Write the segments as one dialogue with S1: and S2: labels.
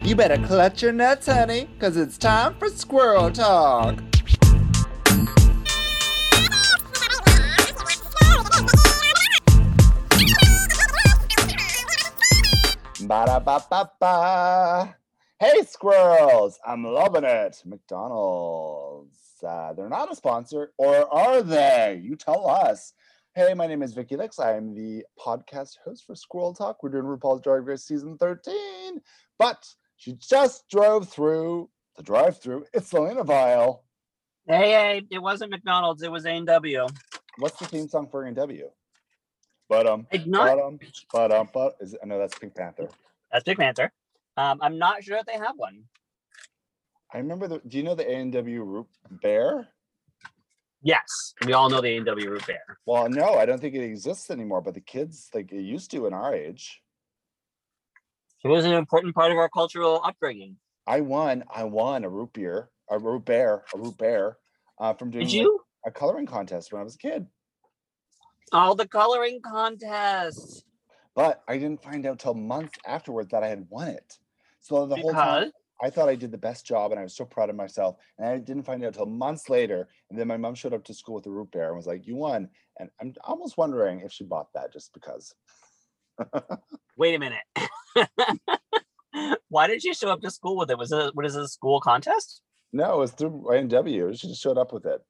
S1: You better clutch your nuts, honey, because it's time for squirrel talk. Ba da ba ba ba. Hey, squirrels! I'm loving it. McDonald's. Uh, they're not a sponsor, or are they? You tell us. Hey, my name is Vicky Lix. I am the podcast host for Squirrel Talk. We're doing RuPaul's Drag Race season 13, but she just drove through the drive-through. It's Selena Vile.
S2: Hey, hey, it wasn't McDonald's. It was A&W.
S1: What's the theme song for NW? But um,
S2: It's
S1: but
S2: not.
S1: um, but um, but is I know that's Pink Panther.
S2: That's Big Panther. Um, I'm not sure that they have one.
S1: I remember the. Do you know the A and W Root Bear?
S2: Yes, we all know the A&W root beer.
S1: Well, no, I don't think it exists anymore. But the kids like it used to in our age.
S2: It was an important part of our cultural upbringing.
S1: I won. I won a root beer, a root bear, a root bear, uh, from doing
S2: Did
S1: like,
S2: you?
S1: a coloring contest when I was a kid.
S2: All the coloring contests.
S1: But I didn't find out till months afterward that I had won it. So the whole time
S2: Because
S1: I thought I did the best job and I was so proud of myself. And I didn't find out till months later. And then my mom showed up to school with a root beer and was like, You won. And I'm almost wondering if she bought that just because.
S2: wait a minute. Why did you show up to school with it? Was it what is it, a school contest?
S1: No, it was through AW. She just showed up with it.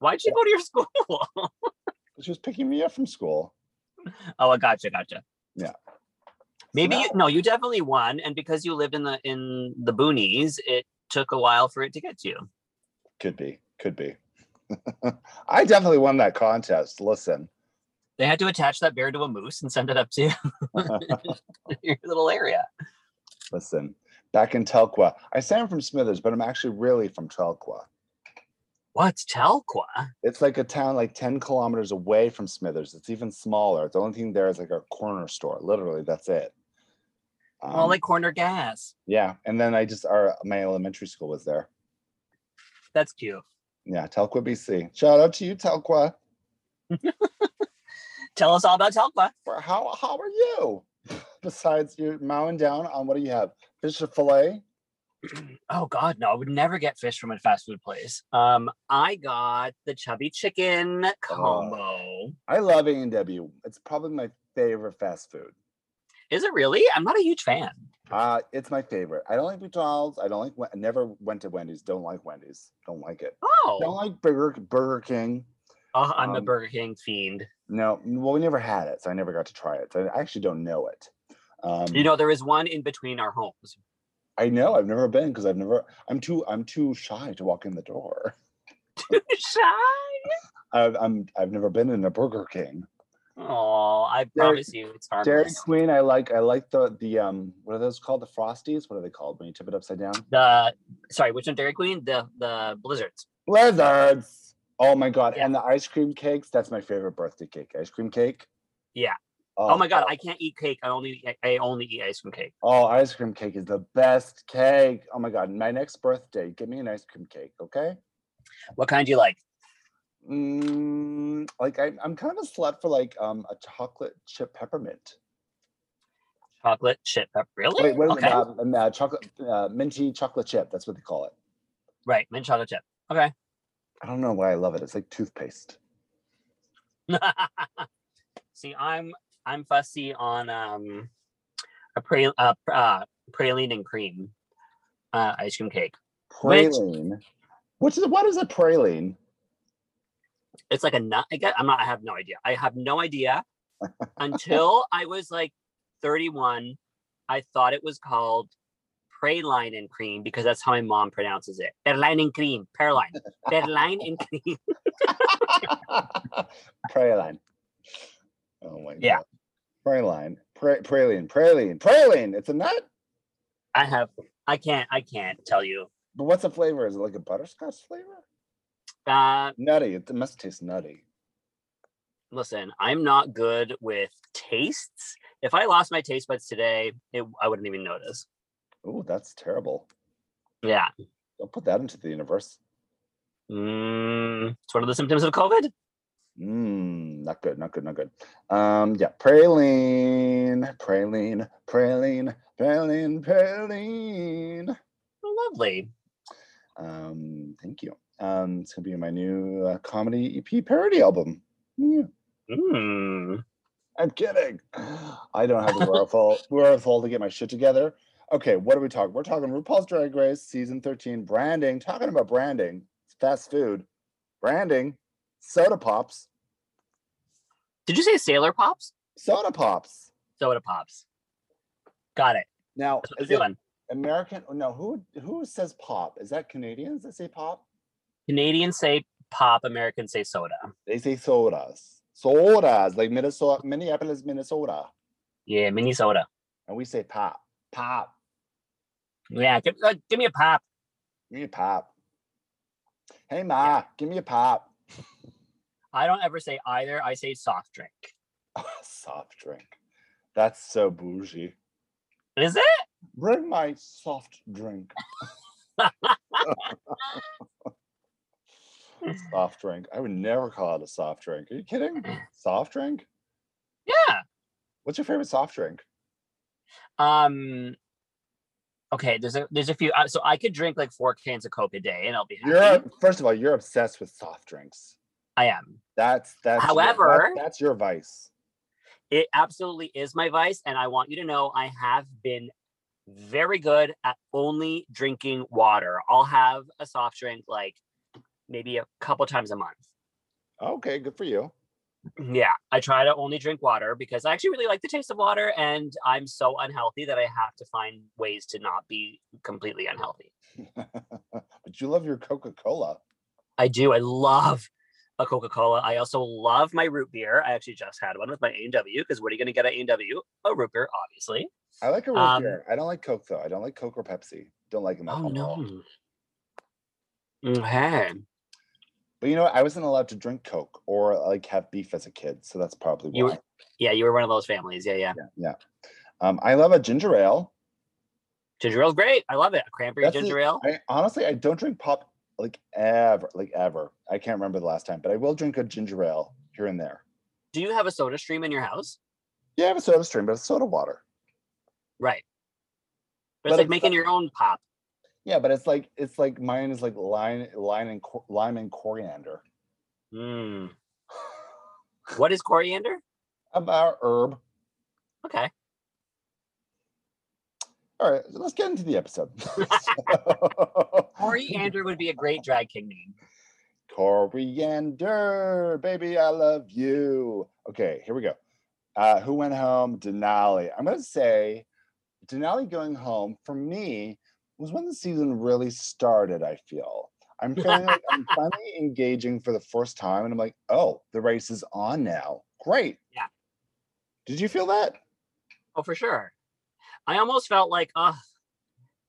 S2: Why'd you go to your school?
S1: She was picking me up from school.
S2: oh, I gotcha, gotcha.
S1: So
S2: Maybe
S1: now-
S2: you, no, you definitely won, and because you lived in the in the boonies, it took a while for it to get to you.
S1: could be. Could be. I definitely won that contest. Listen.
S2: They had to attach that bear to a moose and send it up to your little area.
S1: Listen. Back in Telqua. I say I'm from Smithers, but I'm actually really from Telqua.
S2: What's Telqua?
S1: It's like a town like 10 kilometers away from Smithers. It's even smaller. The only thing there is like a corner store. Literally, that's it. Um,
S2: All like corner gas.
S1: yeah. And then I just, our my elementary school was there.
S2: That's cute.
S1: Yeah. Telqua, BC. Shout out to you, Telqua.
S2: Tell us all about Telqua.
S1: For how, how are you? Besides, you're mowing down on what do you have? Fish filet?
S2: Oh God, no! I would never get fish from a fast food place. Um, I got the chubby chicken
S1: Uh,
S2: combo.
S1: I love A&W. It's probably my favorite fast food.
S2: Is it really? I'm not a huge fan.
S1: Uh, it's my favorite. I don't like McDonald's. I don't like, Wen- I never went to Wendy's. Don't like Wendy's. Don't like it. Don't
S2: Oh,
S1: like Burger, Burger King.
S2: Oh, I'm a
S1: um,
S2: Burger King fiend.
S1: No, well, we never had it, so I never got to try it. So I actually don't know it. Um,
S2: You know, there is one in between our homes.
S1: I know I've never been because I've never. I'm too. I'm too shy to walk in the door.
S2: Shy.
S1: I've, I'm. I've never been in a Burger King.
S2: Oh, I
S1: Dairy-
S2: promise you, it's
S1: Dairy
S2: harmless.
S1: Queen. I like. I like the the um. What are those called? The Frosties. What are they called when you tip it upside down?
S2: The sorry, which one? Dairy Queen. The the blizzards.
S1: Blizzards. Oh my god!
S2: Yeah.
S1: And the ice cream cakes. That's my favorite birthday cake. Ice cream cake.
S2: Yeah. Oh, my God, I can't eat cake. I only I- I only eat ice cream cake.
S1: Oh, ice cream cake is the best cake. Oh my god! My next birthday, give me an ice cream cake, okay?
S2: What kind do you like?
S1: Mm, like I, I'm kind of a slut for like um a chocolate chip peppermint.
S2: Chocolate chip pepper. Really?
S1: Wait, what is
S2: okay.
S1: it? Uh, um, uh, chocolate uh, minty chocolate chip. That's what they call it.
S2: Right, mint chocolate chip.
S1: I don't know why I love it. It's like toothpaste.
S2: See, I'm I'm fussy on um a pra- uh, pr- uh, praline and cream uh, ice cream cake. Which-
S1: Praline. Which is what is a praline?
S2: It's like a nut. I guess I'm not. I have no idea. I have no idea. Until I was like 31, I thought it was called praline and cream because that's how my mom pronounces it. Praline and cream. Praline. Praline and cream.
S1: praline. Oh my
S2: Yeah.
S1: god. Praline. Pra- praline. Praline. Praline. It's a nut.
S2: I have. I can't. I can't tell you.
S1: But what's the flavor? Is it like a butterscotch flavor?
S2: Uh,
S1: Nutty. It must taste nutty.
S2: listen, I'm not good with tastes. If I lost my taste buds today, it, I wouldn't even notice.
S1: Oh, that's terrible.
S2: Yeah.
S1: Don't put that into the universe.
S2: Mm, it's one of the symptoms of COVID.
S1: Mmm, not good, not good, not good. Um, yeah, praline, praline, praline, praline, praline.
S2: Oh, lovely.
S1: Um, thank you. Um, it's gonna be my new uh, comedy EP parody album. Yeah,
S2: Mm.
S1: I'm kidding. I don't have the wherewithal, wherewithal to get my shit together. Okay, what are we talking? We're talking RuPaul's Drag Race season 13 branding. Talking about branding, fast food, branding, soda pops,
S2: Did you say Sailor Pops?
S1: soda pops.
S2: Soda Pops. Got it.
S1: Now,
S2: That's what
S1: is
S2: we're
S1: it
S2: doing.
S1: American? No, who who says pop? Is that Canadians that say pop?
S2: Canadians say pop, Americans say soda.
S1: They say sodas, sodas like Minnesota, Minneapolis, Minnesota,
S2: Yeah, Minnesota.
S1: and we say pop, pop.
S2: Yeah, give, uh, give me a pop.
S1: Give me a pop. Hey ma, give me a pop.
S2: I don't ever say either. I say soft drink.
S1: soft drink. That's so bougie.
S2: Is it?
S1: Bring my soft drink. soft drink. I would never call it a soft drink. Are you kidding? Soft drink?
S2: Yeah.
S1: What's your favorite soft drink?
S2: Um. Okay. There's a there's a few. uh, So I could drink like four cans of Coke a day, and I'll be happy.
S1: You're a- first of all, you're obsessed with soft drinks.
S2: I am.
S1: That's that's your- that-
S2: However-
S1: that's your vice.
S2: It absolutely is my vice, and I want you to know I have been very good at only drinking water. I'll have a soft drink like maybe a couple times a month.
S1: Okay, good for you.
S2: Yeah, I try to only drink water because I actually really like the taste of water, and I'm so unhealthy that I have to find ways to not be completely unhealthy.
S1: but you love your Coca-Cola.
S2: I do. I love a Coca Cola. I also love my root beer. I actually just had one with my A&W because what are you going to get at A&W? A root beer, obviously.
S1: I like a root
S2: Um,
S1: beer. I don't like Coke though. I don't like Coke or Pepsi. Don't like them at
S2: Oh
S1: all.
S2: no. Okay.
S1: But you know what? I wasn't allowed to drink Coke or like have beef as a kid, so that's probably
S2: You
S1: why.
S2: Yeah, you were one of those families. Yeah, yeah.
S1: Yeah, yeah. Um, I love a ginger ale.
S2: Ginger ale's great. I love it. A cranberry
S1: That's the-
S2: ginger ale.
S1: I honestly I don't drink pop like ever, like ever. I can't remember the last time, but I will drink a ginger ale here and there.
S2: Do you have a soda stream in your house?
S1: Yeah, I have a soda stream, but it's soda water.
S2: Right. But
S1: But
S2: it's like
S1: it's
S2: making your own pop.
S1: Yeah, but it's like it's like mine is like lime, lime and cor- lime and coriander.
S2: Mm. What is coriander?
S1: About herb.
S2: Okay.
S1: All right, let's get into the episode.
S2: Coriander would be a great drag king name.
S1: Coriander, baby, I love you. Okay, here we go. Uh, who went home? Denali. I'm gonna say Denali going home for me was when the season really started. I feel I'm feeling like I'm finally engaging for the first time, and I'm like, oh, the race is on now. Great.
S2: Yeah.
S1: Did you feel that?
S2: Oh, for sure. I almost felt like, oh,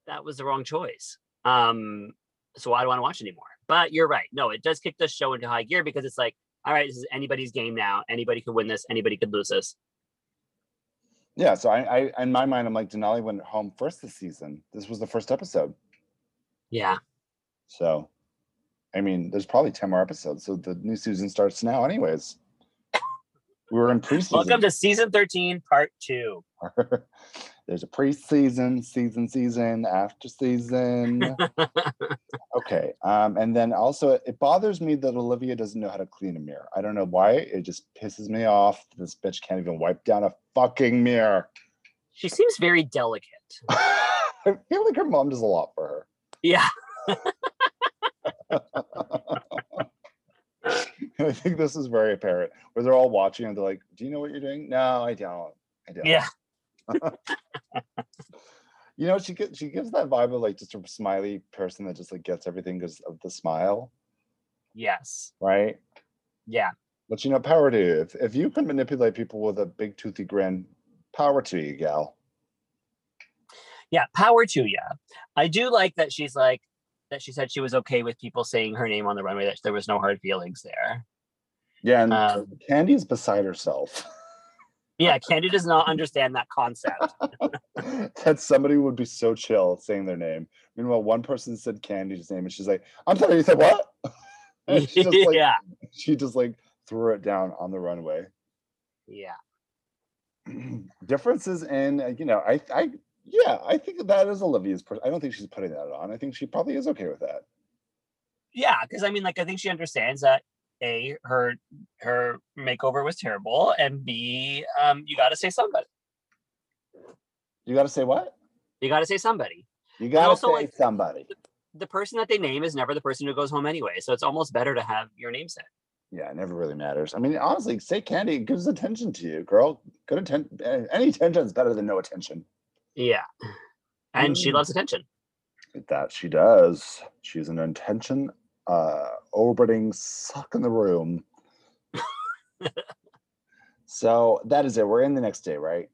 S2: that was the wrong choice. Um, so I don't want to watch anymore. But you're right. No, it does kick the show into high gear because it's like, all right, this is anybody's game now. Anybody could win this. Anybody could lose this.
S1: Yeah. So I, I, in my mind, I'm like Denali went home first this season. This was the first episode.
S2: Yeah.
S1: So, I mean, there's probably 10 more episodes. So the new season starts now, anyways. We were in
S2: Welcome
S1: preseason.
S2: to season 13, part two.
S1: there's a preseason, season, season, after season. okay. Um, and then also, it bothers me that Olivia doesn't know how to clean a mirror. I don't know why. It just pisses me off. This bitch can't even wipe down a fucking mirror.
S2: She seems very delicate.
S1: I feel like her mom does a lot for her.
S2: Yeah.
S1: I think this is very apparent where they're all watching and they're like, Do you know what you're doing? No, I don't. I don't.
S2: Yeah.
S1: You know, she gives she gives that vibe of like just a smiley person that just like gets everything because of the smile,
S2: Yes.
S1: right?
S2: Yeah.
S1: But you know, power to you. If if you can manipulate people with a big toothy grin, power to you, gal.
S2: Yeah. Power to you. I do like that she's like, that she said she was okay with people saying her name on the runway, that there was no hard feelings there.
S1: Yeah, and
S2: Um,
S1: Candy's beside herself.
S2: yeah. Candy does not understand that concept.
S1: that somebody would be so chill saying their name. Meanwhile, one person said Candy's name, and she's like, "I'm sorry." You said what? And she's just like,
S2: yeah.
S1: she just like threw it down on the runway.
S2: Yeah.
S1: Differences in, uh, you know, I, I, yeah, I think that is Olivia's. Per- I don't think she's putting that on. I think she probably is okay with that.
S2: Yeah, because I mean, like, I think she understands that a her her makeover was terrible, and b um, you got to say somebody.
S1: You got to say what?
S2: You got to say somebody.
S1: You got to say
S2: also, like-
S1: somebody.
S2: The person that they name is never the person who goes home anyway, so it's almost better to have your name said.
S1: Yeah, it never really matters. I mean, honestly, say candy it gives attention to you, girl. Good attention. Any attention is better than no attention.
S2: Yeah, and she
S1: Mm.
S2: loves attention.
S1: That she does. She's an intention uh orbiting suck in the room. so that is it. We're in the next day, right?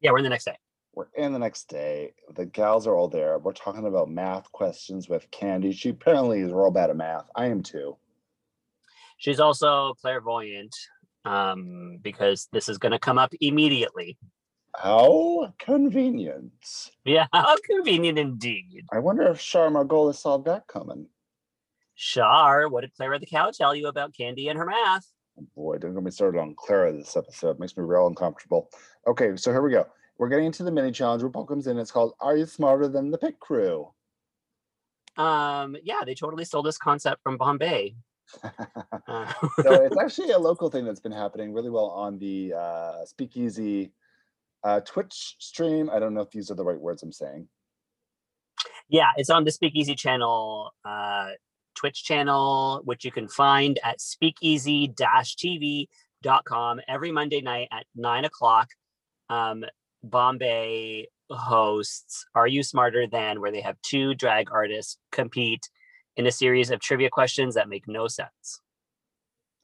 S2: Yeah, we're in the next day.
S1: We're in the next day. The gals are all there. We're talking about math questions with Candy. She apparently is real bad at math. I am too.
S2: She's also clairvoyant um, because this is going to come up immediately.
S1: How convenient.
S2: Yeah, how convenient indeed.
S1: I wonder if Shar Margolis saw that coming.
S2: Shar, what did Clara the cow tell you about Candy and her math?
S1: boy, don't get me started on Clara this episode. Makes me real uncomfortable. Okay, so here we go. We're getting into the mini challenge. RuPaul comes in. It's called Are You Smarter Than the Pit Crew?
S2: Um, yeah, they totally stole this concept from Bombay. Uh,
S1: so it's actually a local thing that's been happening really well on the uh, Speakeasy uh, Twitch stream. I don't know if these are the right words I'm saying.
S2: yeah, it's on the Speakeasy channel, uh, Twitch channel, which you can find at speakeasy-tv.com every Monday night at nine o'clock. Um, Bombay hosts Are You Smarter Than, where they have two drag artists compete in a series of trivia questions that make no sense.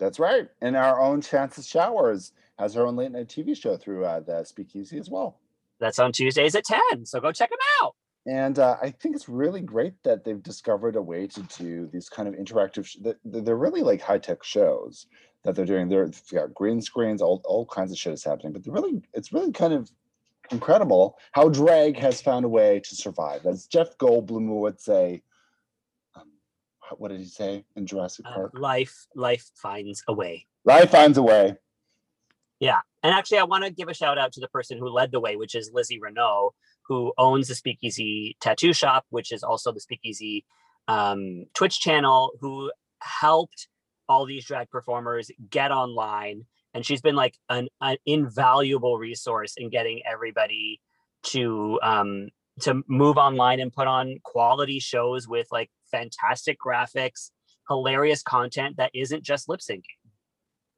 S1: That's right. And our own Chances Showers has her own late night TV show through uh, the Speakeasy as well.
S2: That's on Tuesdays at 10. So go check them out.
S1: And uh, I think it's really great that they've discovered a way to do these kind of interactive. Sh- th- th- they're really like high tech shows that they're doing. They're, they've got green screens, all all kinds of shit is happening. But they're really, it's really kind of incredible how drag has found a way to survive. As Jeff Goldblum would say, um, wh- what did he say in Jurassic
S2: Uh,
S1: Park?
S2: life, life finds a way.
S1: Life finds a way.
S2: And actually, I want to give a shout out to the person who led the way, which is Lizzie Renault, who owns the Speakeasy Tattoo Shop, which is also the Speakeasy um, Twitch channel, who helped all these drag performers get online. And she's been like an, an invaluable resource in getting everybody to um, to move online and put on quality shows with like fantastic graphics, hilarious content that isn't just lip syncing.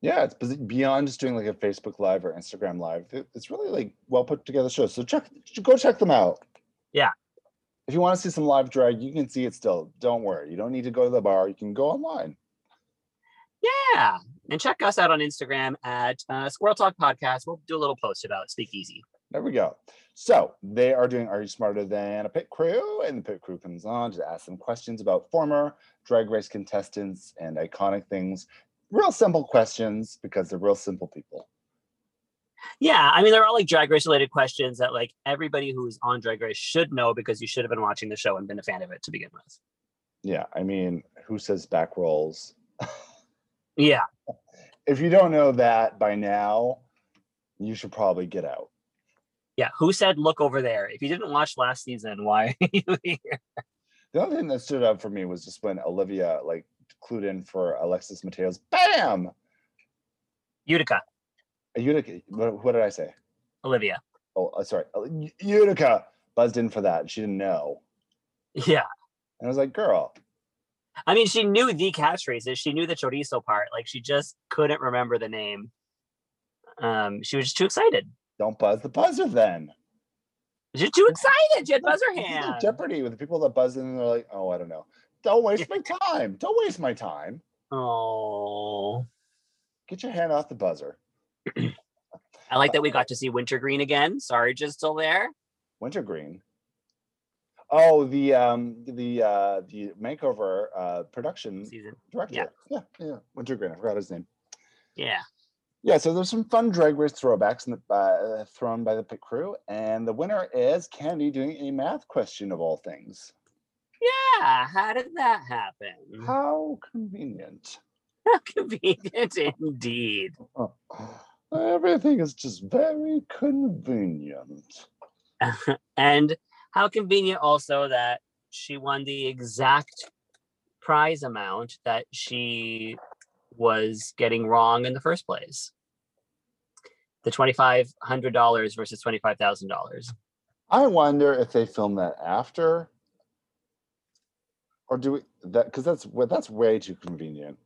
S1: Yeah, it's bes- beyond just doing like a Facebook Live or Instagram Live. It- It's really like well put together shows. So check, ch- go check them out.
S2: Yeah.
S1: If you want to see some live drag, you can see it still. Don't worry. You don't need to go to the bar. You can go online.
S2: Yeah. And check us out on Instagram at uh, Squirrel Talk Podcast. We'll do a little post about Speakeasy.
S1: There we go. So they are doing Are You Smarter Than a Pit Crew? And the pit crew comes on to ask them questions about former drag race contestants and iconic things. Real simple questions because they're real simple people.
S2: Yeah. I mean, they're all like drag race related questions that like everybody who's on Drag Race should know because you should have been watching the show and been a fan of it to begin with.
S1: Yeah. I mean, who says back rolls?
S2: Yeah.
S1: if you don't know that by now, you should probably get out.
S2: Yeah. Who said look over there? If you didn't watch last season, why? are you here?
S1: The other thing that stood out for me was just when Olivia like clued in for Alexis Mateos. Bam!
S2: Utica,
S1: Utica. What, what did I say?
S2: Olivia.
S1: Oh, uh, sorry. uh, U- Utica buzzed in for that. She didn't know,
S2: Yeah.
S1: and I was like, "Girl,
S2: I mean, she knew the catchphrases. She knew the chorizo part. Like she just couldn't remember the name. Um, she was just too excited.
S1: don't buzz the buzzer then."
S2: She's too excited. She had buzzer
S1: This is like
S2: hand.
S1: Jeopardy with the people that buzz in and they're like, "Oh, I don't know. Don't waste my time. Don't waste my time.
S2: Oh,
S1: Get your hand off the buzzer."
S2: I like that we got to see Wintergreen again. Sarge is still there.
S1: Wintergreen. Oh, the um the uh the makeover uh production
S2: Season.
S1: director. Yeah, yeah. yeah. Wintergreen. I forgot his name.
S2: Yeah.
S1: Yeah, so there's some fun drag race throwbacks in the, uh, thrown by the pit crew, and the winner is Candy doing a math question of all things.
S2: Yeah. How did that happen?
S1: How convenient!
S2: How convenient indeed.
S1: Everything is just very convenient.
S2: and how convenient also that she won the exact prize amount that she was getting wrong in the first place the $2,500 versus $25,000.
S1: I wonder if they filmed that after, or do we that because that's wa- that's way too convenient.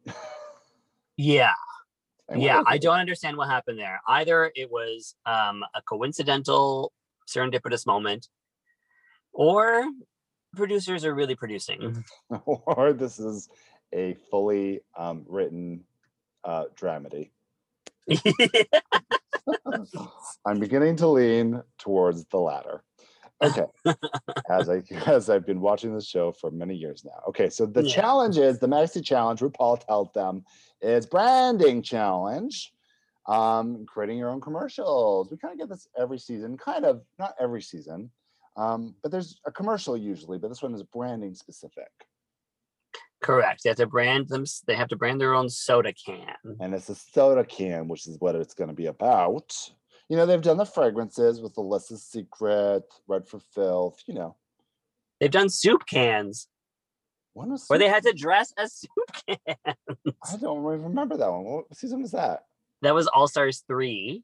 S2: Yeah.
S1: And what
S2: Yeah.
S1: if
S2: I
S1: it-
S2: don't understand what happened there. Either it was um, a coincidental, serendipitous moment, or producers are really producing.
S1: or this is a fully um, written uh, dramedy. Mm-hmm. I'm beginning to lean towards the latter. Okay, as I as I've been watching the show for many years now. Okay, so the
S2: Yeah.
S1: challenge is the Maxi challenge. RuPaul told them is branding challenge, um, creating your own commercials. We kind of get this every season, kind of not every season, um, but there's a commercial usually, but this one is branding specific,
S2: Correct. They have to brand them. They have to brand their own soda can.
S1: and it's a soda can, which is what it's going to be about. You know, they've done the fragrances with Alyssa's Secret, Red for Filth. You know.
S2: They've done soup cans
S1: When was
S2: where they
S1: season-
S2: had to dress as soup can.
S1: I don't really remember that one. What season was that?
S2: That was All Stars three.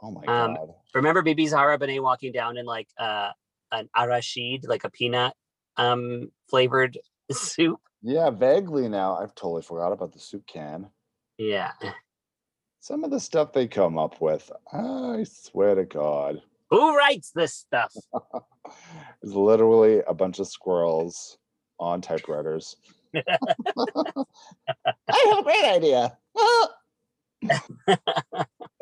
S1: Oh my
S2: Um,
S1: god.
S2: remember BB Zahra Benet walking down in like uh, an arashid, like a peanut um, flavored soup?
S1: Yeah, vaguely now. I've totally forgot about the soup can.
S2: Yeah.
S1: Some of the stuff they come up with, I swear to God,
S2: Who writes this stuff?
S1: is literally a bunch of squirrels on typewriters. I have a great idea.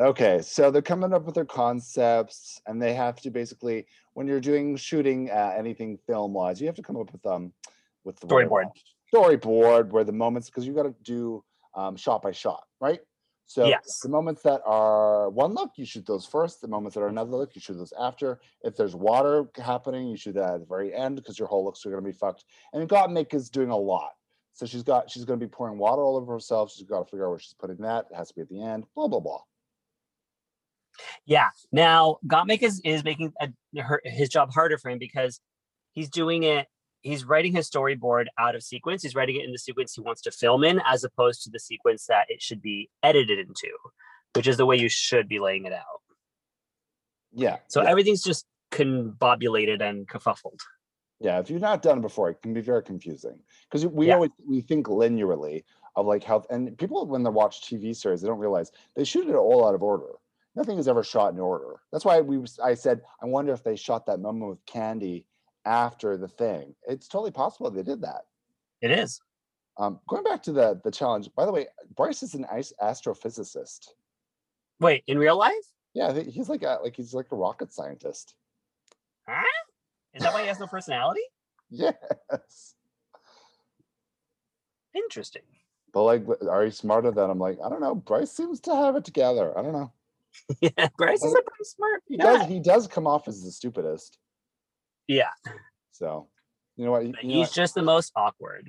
S1: okay, so they're coming up with their concepts, and they have to basically, when you're doing shooting uh, anything film wise, you have to come up with um with the word
S2: Storyboard.
S1: storyboard where the moments because you got to do um, shot by shot, right? So
S2: Yes.
S1: the moments that are one look, you shoot those first. The moments that are another look, you shoot those after. If there's water happening, you shoot that at the very end because your whole looks are going to be fucked. And Gottmik is doing a lot. So she's got she's going to be pouring water all over herself. She's got to figure out where she's putting that. It has to be at the end. Blah blah blah.
S2: Yeah. Now Gottmik is is making a, her, his job harder for him because he's doing it. He's writing his storyboard out of sequence. He's writing it in the sequence he wants to film in, as opposed to the sequence that it should be edited into, which is the way you should be laying it out.
S1: Yeah.
S2: So
S1: yeah.
S2: everything's just combobulated and kerfuffled.
S1: Yeah, if you've not done it before, it can be very confusing because we
S2: Yeah.
S1: always we think linearly of like how and people when they watch TV series they don't realize they shoot it all out of order. Nothing is ever shot in order. That's why we was- I said I wonder if they shot that moment with Candy after the thing. It's totally possible they did that.
S2: It is.
S1: Um, going back to the the challenge, by the way, Bryce is an ice astrophysicist.
S2: Wait, in real life?
S1: Yeah, I think he's like a like he's like a rocket scientist.
S2: Is that why he has no personality?
S1: Yes,
S2: Interesting.
S1: but like, are you smarter than I'm? Like, I don't know. Bryce seems to have it together. I don't know.
S2: Yeah, Bryce is a
S1: Well,
S2: pretty smart
S1: he
S2: guy.
S1: does he does come off as the stupidest
S2: Yeah,
S1: so you know what, you
S2: but
S1: know
S2: he's
S1: what?
S2: just the most awkward.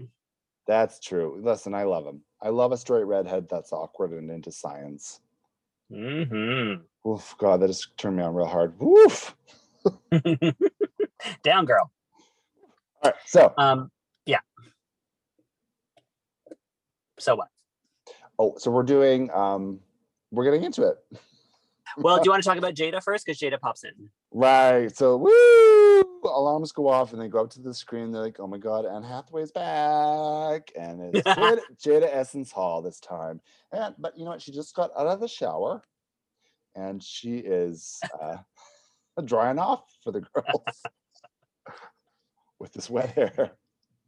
S1: that's true listen i love him i love a straight redhead that's awkward and into science
S2: hmm
S1: Oof, god that just turned me on real hard Woof.
S2: Down girl.
S1: all right so
S2: Um, yeah. So what? Uh,
S1: oh so we're doing um we're getting into it
S2: Well, do you want to talk about Jada first? Because Jada pops in.
S1: right so woo alarms go off and they go up to the screen they're like oh my god anne hathaway's back and it's jada, jada essence hall this time and but you know what she just got out of the shower and she is uh, drying off for the girls with this wet hair.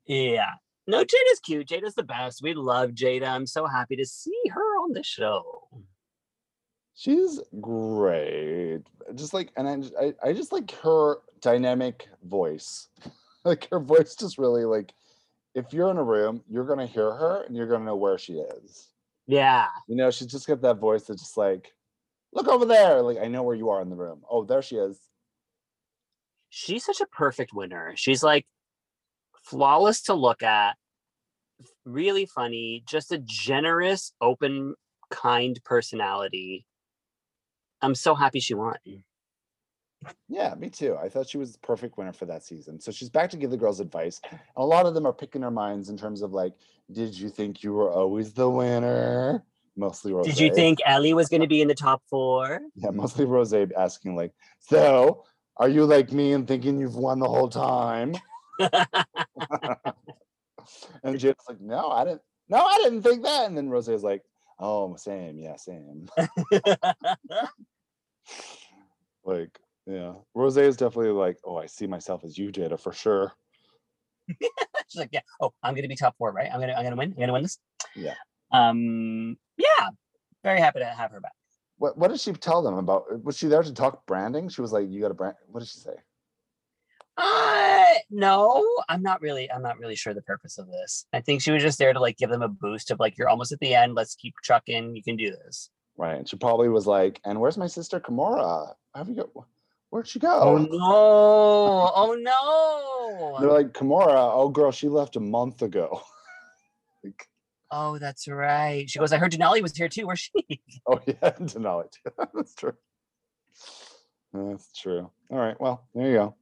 S2: Yeah. No, Jada's cute. Jada's the best. We love Jada. I'm so happy to see her on the show.
S1: She's great. Just like, and I, just- I, I just like her dynamic voice. like her voice just really like, if you're in a room, you're gonna hear her and you're gonna know where she is.
S2: Yeah.
S1: You know, she's just got that voice that's just like, look over there. Like I know where you are in the room. Oh, there she is.
S2: she's such a perfect winner. She's like flawless to look at, really funny, just a generous, open, kind personality. I'm so happy she won.
S1: Yeah, me too. I thought she was the perfect winner for that season. So she's back to give the girls advice. And a lot of them are picking their minds in terms of like, did you think you were always the winner? Mostly Rose.
S2: Did you think Ellie was going to be in the top four?
S1: Yeah, mostly Rose asking like, so are you like me and thinking you've won the whole time? and Jade's like, no, I didn't. No, I didn't think that. And then Rose is like, oh, same, yeah, same. like, yeah, Rose is definitely like, oh, I see myself as you, Jada, for sure.
S2: She's like, yeah. Oh, I'm gonna be top four, right? I'm gonna, I'm gonna win. I'm gonna win this.
S1: Yeah.
S2: Um. Yeah. Very happy to have her back.
S1: What What did she tell them about? Was she there to talk branding? She was like, you got to brand. What did she say?
S2: Uh, no, I'm not really. I'm not really sure the purpose of this. I think she was just there to like give them a boost of like, you're almost at the end. Let's keep trucking. You can do this.
S1: Right, and she probably was like, and where's my sister Kimora? Have you go? Where'd she go?
S2: Oh, no! Oh
S1: They're
S2: no!
S1: like, Kimora, oh girl, she left a month ago. like,
S2: Oh, that's right. She goes, I heard Denali was here too. Where's she?
S1: oh yeah, Denali. too. That's true. That's true. All right. Well, there you go.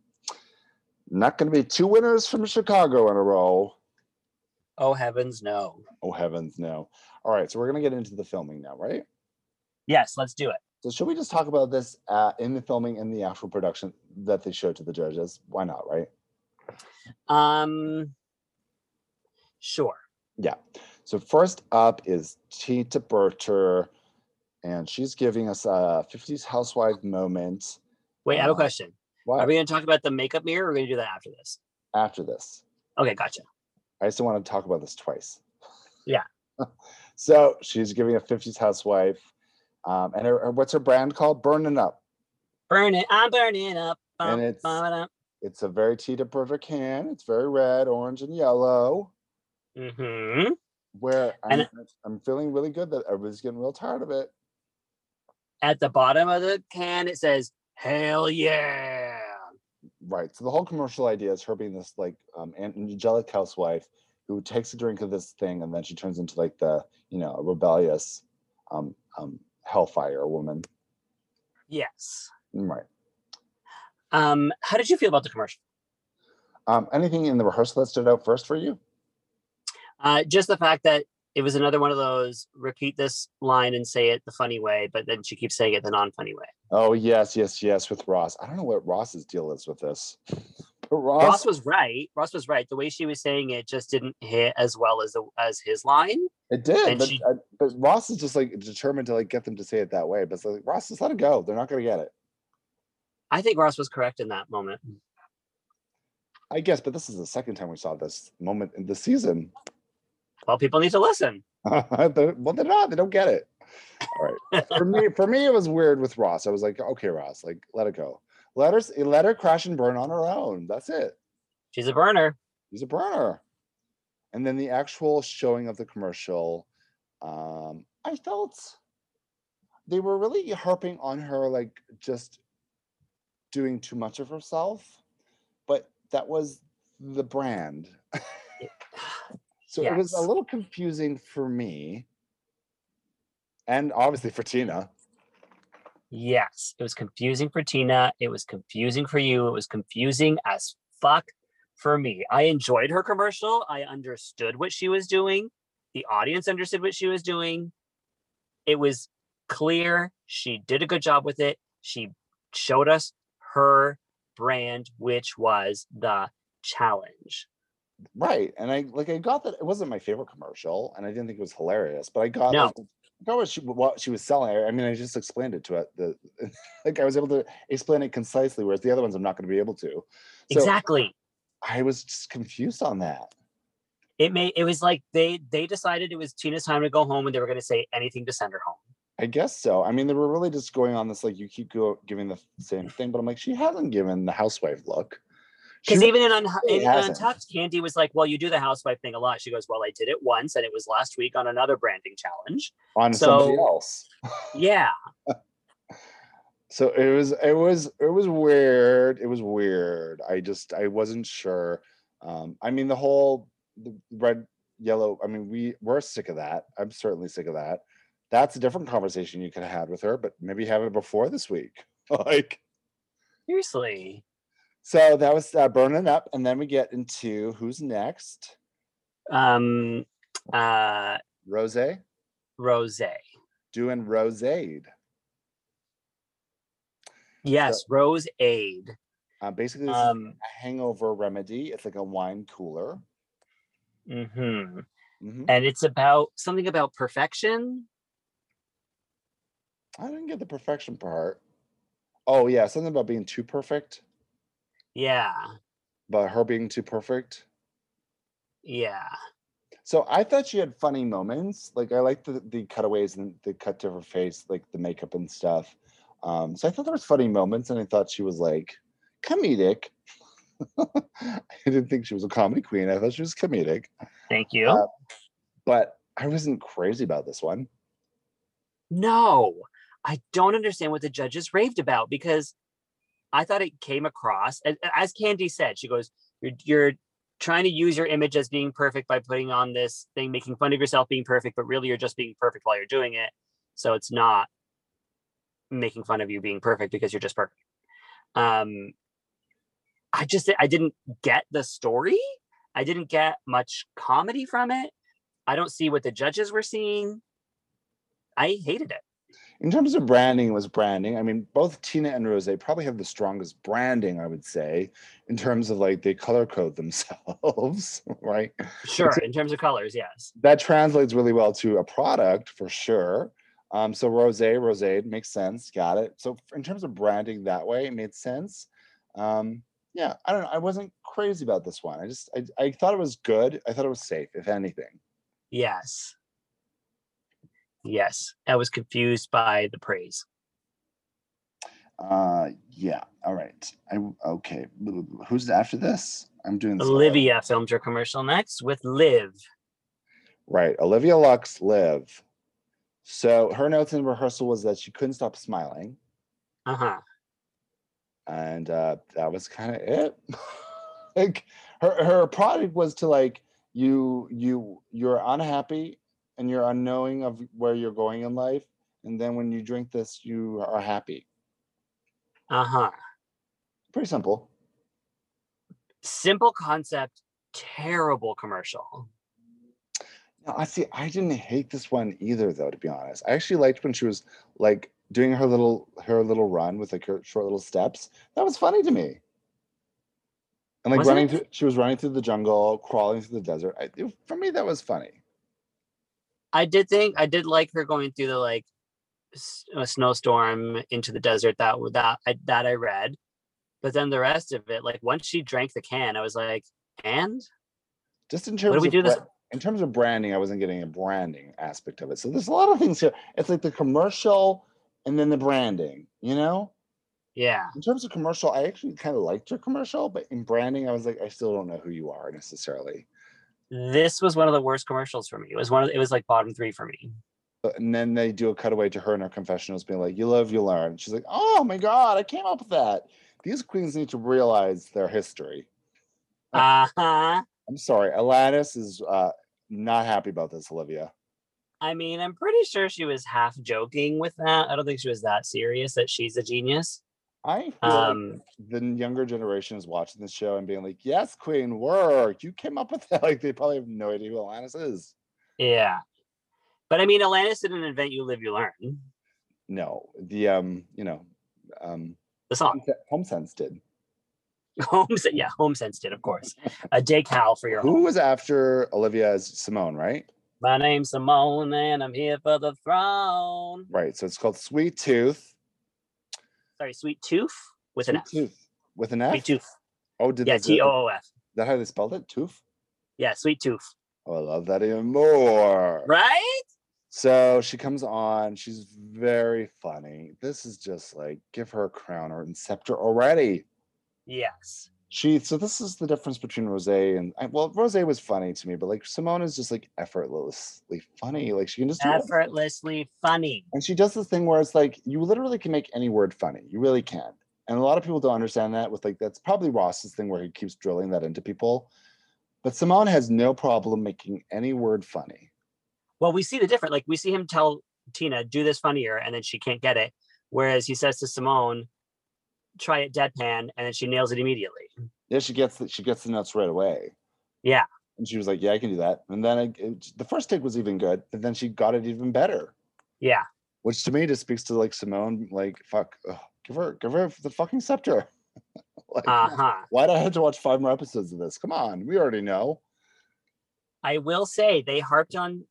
S1: Not going to be two winners from Chicago in a row.
S2: Oh heavens, no.
S1: Oh heavens, no. All right. So we're going to get into the filming now, right?
S2: Yes, let's do it.
S1: So should we just talk about this uh, in the filming and the actual production that they showed to the judges? Why not, right?
S2: Um sure.
S1: Yeah. So first up is Tita Berter, and she's giving us a 50s housewife moment.
S2: Wait, I have a
S1: Uh,
S2: question.
S1: Why
S2: Are we gonna talk about the makeup mirror or are we gonna do that after this?
S1: after this?
S2: Okay, gotcha.
S1: I still want to talk about this twice.
S2: Yeah.
S1: so she's giving a 50s housewife. Um, and her, her- what's her brand called? Burning Up.
S2: Burn it, I'm burning up.
S1: And
S2: Bum,
S1: it's-
S2: bum,
S1: It's a very Tita Berter can. It's very red, orange, and yellow.
S2: bum. Mhm.
S1: Where I'm,
S2: And-
S1: I'm feeling really good that everybody's getting real tired of it.
S2: At the bottom of the can it says, Hell yeah.
S1: Right. So the whole commercial idea is her being this like um, an- angelic housewife who takes a drink of this thing and then she turns into like the you know a rebellious um, um, hellfire woman.
S2: Yes.
S1: Right.
S2: Um, how did you feel about the commercial?
S1: Um, anything in the rehearsal that stood out first for you?
S2: Uh, just the fact that it was another one of those repeat this line and say it the funny way, but then she keeps saying it the non funny way.
S1: Oh yes, yes, yes, with Ross. I don't know what Ross's deal is with this, but Ross,
S2: Ross was right. Ross was right. The way she was saying it just didn't hit as well as the, as his line.
S1: it
S2: and
S1: did, but,
S2: she-
S1: uh, but Ross is just like determined to like get them to say it that way. But it's like Ross, just let it go. They're not gonna get it,
S2: I think Ross was correct in that moment.
S1: I guess. But this is the second time we saw this moment in the season.
S2: Well, people need to listen.
S1: They're- well, they're not. They don't get it. All right. For me, for me, it was weird with Ross. I was like, okay, Ross, like let it go. Let her, s- let her crash and burn on her own. That's it.
S2: She's a burner.
S1: He's a burner. And then the actual showing of the commercial, um, I felt they were really harping on her, like just doing too much of herself. But that was the brand. So it was a
S2: Yes.
S1: little confusing for me. And obviously for Tina.
S2: Yes, it was confusing for Tina. It was confusing for you. It was confusing as fuck for me. I enjoyed her commercial. I understood what she was doing. The audience understood what she was doing. It was clear. She did a good job with it. She showed us her brand, which was the challenge.
S1: Right. And I like I got that it wasn't my favorite commercial and I didn't think it was hilarious, but I got
S2: No.
S1: like, I got what she what she was selling. I, I mean, I just explained it to it. The like I was able to explain it concisely, whereas the other ones I'm not going to be able to. So
S2: exactly.
S1: I was just confused on that.
S2: It made it was like they they decided it was Tina's time to go home and they were gonna say anything to send her home.
S1: I guess so. I mean, they were really just going on this like you keep go, giving the same thing, but I'm like, she hasn't given the housewife look. She
S2: Because even in, un-
S1: really
S2: in
S1: hasn't.
S2: Untucked, Candy was like, "Well, you do the housewife thing a lot." She goes, "Well, I did it once, and it was last week on another branding challenge."
S1: on somebody
S2: so-
S1: else.
S2: Yeah,
S1: so it was it was it was weird it was weird i just i wasn't sure um i mean the whole the red yellow. I mean, we we're sick of that. I'm certainly sick of that. That's a different conversation you could have had with her, but maybe have it before this week. like,
S2: Seriously.
S1: so that was uh, burning up, and then we get into who's next.
S2: Um uh
S1: Rose
S2: Rose.
S1: doing Roseade.
S2: Yes, Rose Aid.
S1: Uh, basically, this is
S2: Um
S1: a hangover remedy. It's like a wine cooler.
S2: mhm.
S1: Mhm.
S2: and it's about something about perfection.
S1: I didn't get the perfection part. Oh yeah, something about being too perfect,
S2: Yeah.
S1: but her being too perfect.
S2: Yeah.
S1: So I thought she had funny moments. Like I liked the, the cutaways and the cut to her face, like the makeup and stuff. Um, so I thought there was funny moments, and I thought she was like comedic. I didn't think she was a comedy queen. I thought she was comedic,
S2: Thank you.
S1: Uh, but I wasn't crazy about this one.
S2: no, I don't understand what the judges raved about because I thought it came across a- a- as Candy said. She goes, "You're you're trying to use your image as being perfect by putting on this thing, making fun of yourself being perfect, but really you're just being perfect while you're doing it. So it's not making fun of you being perfect because you're just perfect." Um, I just I didn't get the story. I didn't get much comedy from it. I don't see what the judges were seeing. I hated it.
S1: In terms of branding, it was branding. I mean, both Tina and Rose probably have the strongest branding, I would say, in terms of like they color code themselves, right?
S2: Sure, in terms of colors, yes.
S1: That translates really well to a product for sure. Um, so Rose, Rose makes sense. Got it. So f- in terms of branding that way, it made sense. Um, yeah, I don't know. I wasn't crazy about this one. I just I, I thought it was good. I thought it was safe, if anything.
S2: Yes. Yes. I was confused by the praise.
S1: Uh, yeah. All right. I w- okay. Who's after this? I'm doing this. horrible.
S2: Olivia filmed her commercial next with Liv.
S1: Right. Olivia Lux live. So her notes in rehearsal was that she couldn't stop smiling.
S2: Uh-huh.
S1: And uh, that was kind of it. like her her product was to like you you you're unhappy and you're unknowing of where you're going in life. And then when you drink this, you are happy.
S2: Uh-huh.
S1: Pretty simple.
S2: Simple concept, terrible commercial.
S1: No, I see. I didn't hate this one either, though. To be honest, I actually liked when she was like doing her little her little run with like her short little steps. That was funny to me. And like
S2: Wasn't
S1: running,
S2: it?
S1: through, she was running through the jungle, crawling through the desert. I, it- for me, that was funny.
S2: I did think I did like her going through the like s- a snowstorm into the desert that w- that I, that I read, but then the rest of it, like once she drank the can, I was like, and
S1: Just in
S2: what
S1: terms
S2: do we
S1: of
S2: do this?
S1: bra- in terms of branding, I wasn't getting a branding aspect of it. So there's a lot of things here. It's like the commercial and then the branding. You know,
S2: Yeah,
S1: in terms of commercial, I actually kind of liked your commercial, but in branding, I was like, I still don't know who you are necessarily.
S2: this was one of the worst commercials for me. It was one of it was like bottom three for me.
S1: But- uh, and then they do a cutaway to her in her confessionals being like you live you learn she's like oh my god i came up with that these queens need to realize their history
S2: Uh huh.
S1: i'm sorry alanis is uh not happy about this olivia
S2: I mean, I'm pretty sure she was half joking with that. I don't think she was that serious that she's a genius.
S1: i feel like
S2: Um,
S1: the younger generation is watching this show and being like yes queen work you came up with that like they probably have no idea who alanis is
S2: yeah, but I mean, Alanis didn't invent "You Live, You Learn"
S1: no the um you know um
S2: the song.
S1: home sense did
S2: Holmes, yeah, Home Sense did, of course. A Jake Howe for your
S1: who was after olivia is simone right
S2: My name's Simone and I'm here for the throne.
S1: right so it's called sweet tooth
S2: Sorry, Sweet Tooth with an
S1: Sweet
S2: F.
S1: Tooth. With an F?
S2: Sweet Tooth.
S1: Oh, did
S2: Yeah,
S1: they, did-
S2: T O O F.
S1: Is that how they spelled it? Tooth?
S2: Yeah, Sweet Tooth.
S1: Oh, I love that even more.
S2: Right?
S1: So she comes on. She's very funny. This is just like give her a crown or and scepter already.
S2: Yes.
S1: She so this is the difference between Rose and I- well, Rose was funny to me, but like Simone is just like effortlessly funny. Like she can just do anything.
S2: Effortlessly funny.
S1: And she does this thing where it's like you literally can make any word funny. You really can. And a lot of people don't understand that with like that's probably Ross's thing where he keeps drilling that into people. But Simone has no problem making any word funny.
S2: Well, we see the difference. Like we see him tell Tina, do this funnier, and then she can't get it. Whereas he says to Simone, try it deadpan, and then she nails it immediately.
S1: Yeah, she gets the, she gets the notes right away.
S2: Yeah.
S1: And she was like, "Yeah, I can do that." And then it, it- the first take was even good, but then she got it even better,
S2: Yeah.
S1: which to me just speaks to like Simone, like fuck, ugh, give her give her the fucking scepter. like,
S2: Uh huh.
S1: why do I have to watch five more episodes of this? Come on, we already know.
S2: I will say they harped on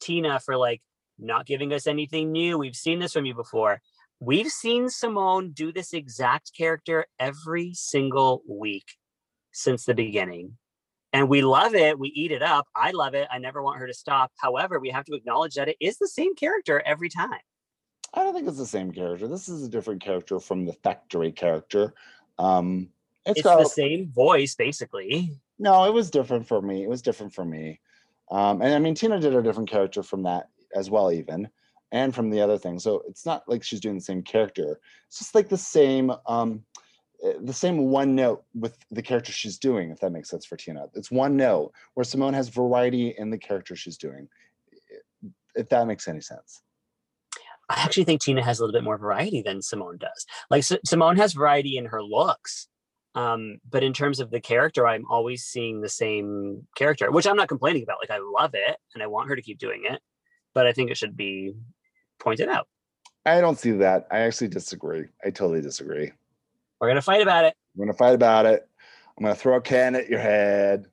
S2: Tina for like not giving us anything new. We've seen this from you before. We've seen Simone do this exact character every single week since the beginning. And we love it. We eat it up. I love it. I never want her to stop. However, we have to acknowledge that it is the same character every time.
S1: I don't think it's the same character. This is a different character from the factory character. Um,
S2: It's
S1: got
S2: the same voice, basically.
S1: No, it was different for me. It was different for me. Um, and I mean, Tina did a different character from that as well, even, and from the other thing. So it's not like she's doing the same character. It's just like the same, um, eh, the same one note with the character she's doing. If that makes sense for Tina, it's one note where Simone has variety in the character she's doing. If that makes any sense.
S2: I actually think Tina has a little bit more variety than Simone does. Like S- Simone has variety in her looks, um, but in terms of the character, I'm always seeing the same character, which I'm not complaining about. Like I love it and I want her to keep doing it, but I think it should be pointed out.
S1: I don't see that. I actually disagree. I totally disagree.
S2: We're gonna fight about it.
S1: I'm gonna fight about it. I'm gonna throw a can at your head.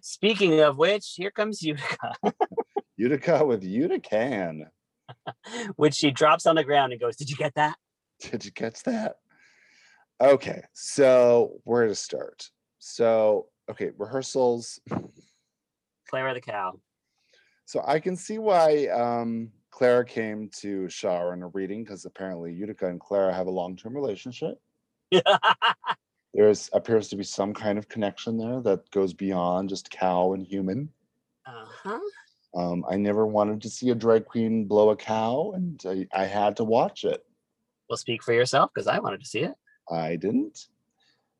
S2: Speaking of which, here comes Utica,
S1: Utica with Utican.
S2: which she drops on the ground and goes, "Did you get that?"
S1: Did you catch that? Okay, so where to start? So, okay, rehearsals.
S2: Clara the cow.
S1: So I can see why um, Clara came to Shar in a reading because apparently Utica and Clara have a long-term relationship.
S2: Uh-huh.
S1: There's appears to be some kind of connection there that goes beyond just cow and human.
S2: uh-huh.
S1: Um, I never wanted to see a drag queen blow a cow, and I, I had to watch it.
S2: Well, speak for yourself because I wanted to see it.
S1: I didn't.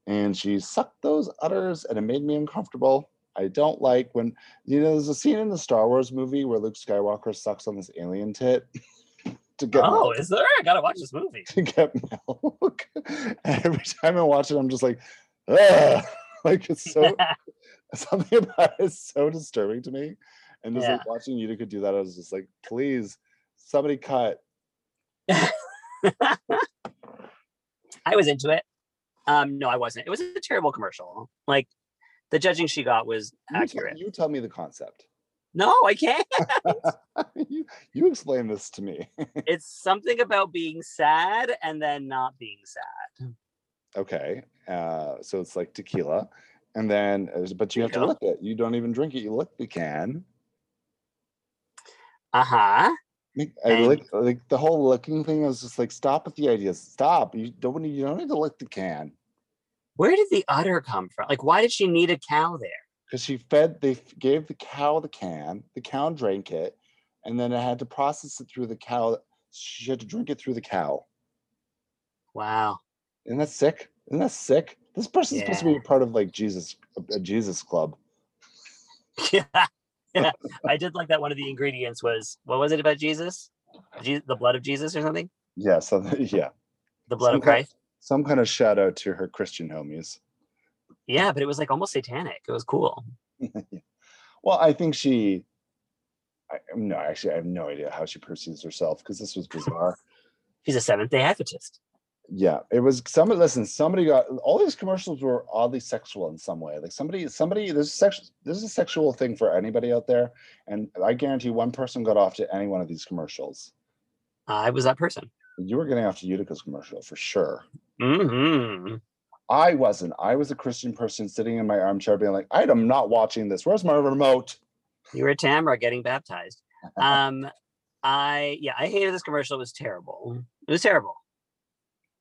S1: And she sucked those udders and it made me uncomfortable. I don't like when, you know, there's a scene in the Star Wars movie where Luke Skywalker sucks on this alien tit to get,
S2: Oh,
S1: milk,
S2: is there? I gotta watch this movie.
S1: to get milk. And every time I watch it, I'm just like, Ugh! like it's so, something about it is so disturbing to me. And just like watching Utica do that, I was just like, please, somebody cut.
S2: I was into it. Um, no, I wasn't. It was a terrible commercial. Like the judging she got was
S1: You tell,
S2: accurate.
S1: you tell me the concept.
S2: No, I can't.
S1: you, you explain this to me.
S2: It's something about being sad and then not being sad.
S1: Okay. Uh, so it's like tequila. And then, uh, but you have to
S2: Yeah.
S1: lick it. You don't even drink it. You lick the can.
S2: Uh huh.
S1: Like, I
S2: And-
S1: lick, like the whole licking thing. I was just like, stop with the ideas. Stop. You don't. need- You don't need to lick the can
S2: Where did the udder come from? Like, why did she need a cow there?
S1: because she fed. They f- gave the cow the can. The cow drank it, and then it had to process it through the cow. She had to drink it through the cow.
S2: Wow.
S1: Isn't that sick? Isn't that sick? This person's supposed to be
S2: Yeah.
S1: a part of like Jesus, a- a Jesus club.
S2: yeah. I did like that one of the ingredients was what was it about Jesus? Je- the blood of Jesus or something?
S1: Yeah. So yeah,
S2: The blood
S1: Some kind-
S2: of Christ.
S1: some kind of shout out to her Christian homies.
S2: Yeah, but it was like almost satanic. It was cool.
S1: Well, I think she. I, no, actually, I have no idea how she perceives herself because this was bizarre.
S2: She's a Seventh day Adventist.
S1: yeah, it was. Somebody listen. Somebody got all these commercials were oddly sexual in some way. Like somebody, somebody. There's sex. There's a sexual thing for anybody out there, and I guarantee one person got off to any one of these commercials.
S2: I was that person.
S1: You were getting off to Utica's commercial for sure.
S2: hmm
S1: I wasn't. I was a Christian person sitting in my armchair, being like, "I am not watching this. Where's my remote?"
S2: You were Tamara getting baptized. Um, I yeah, I hated this commercial. It was terrible. It was terrible.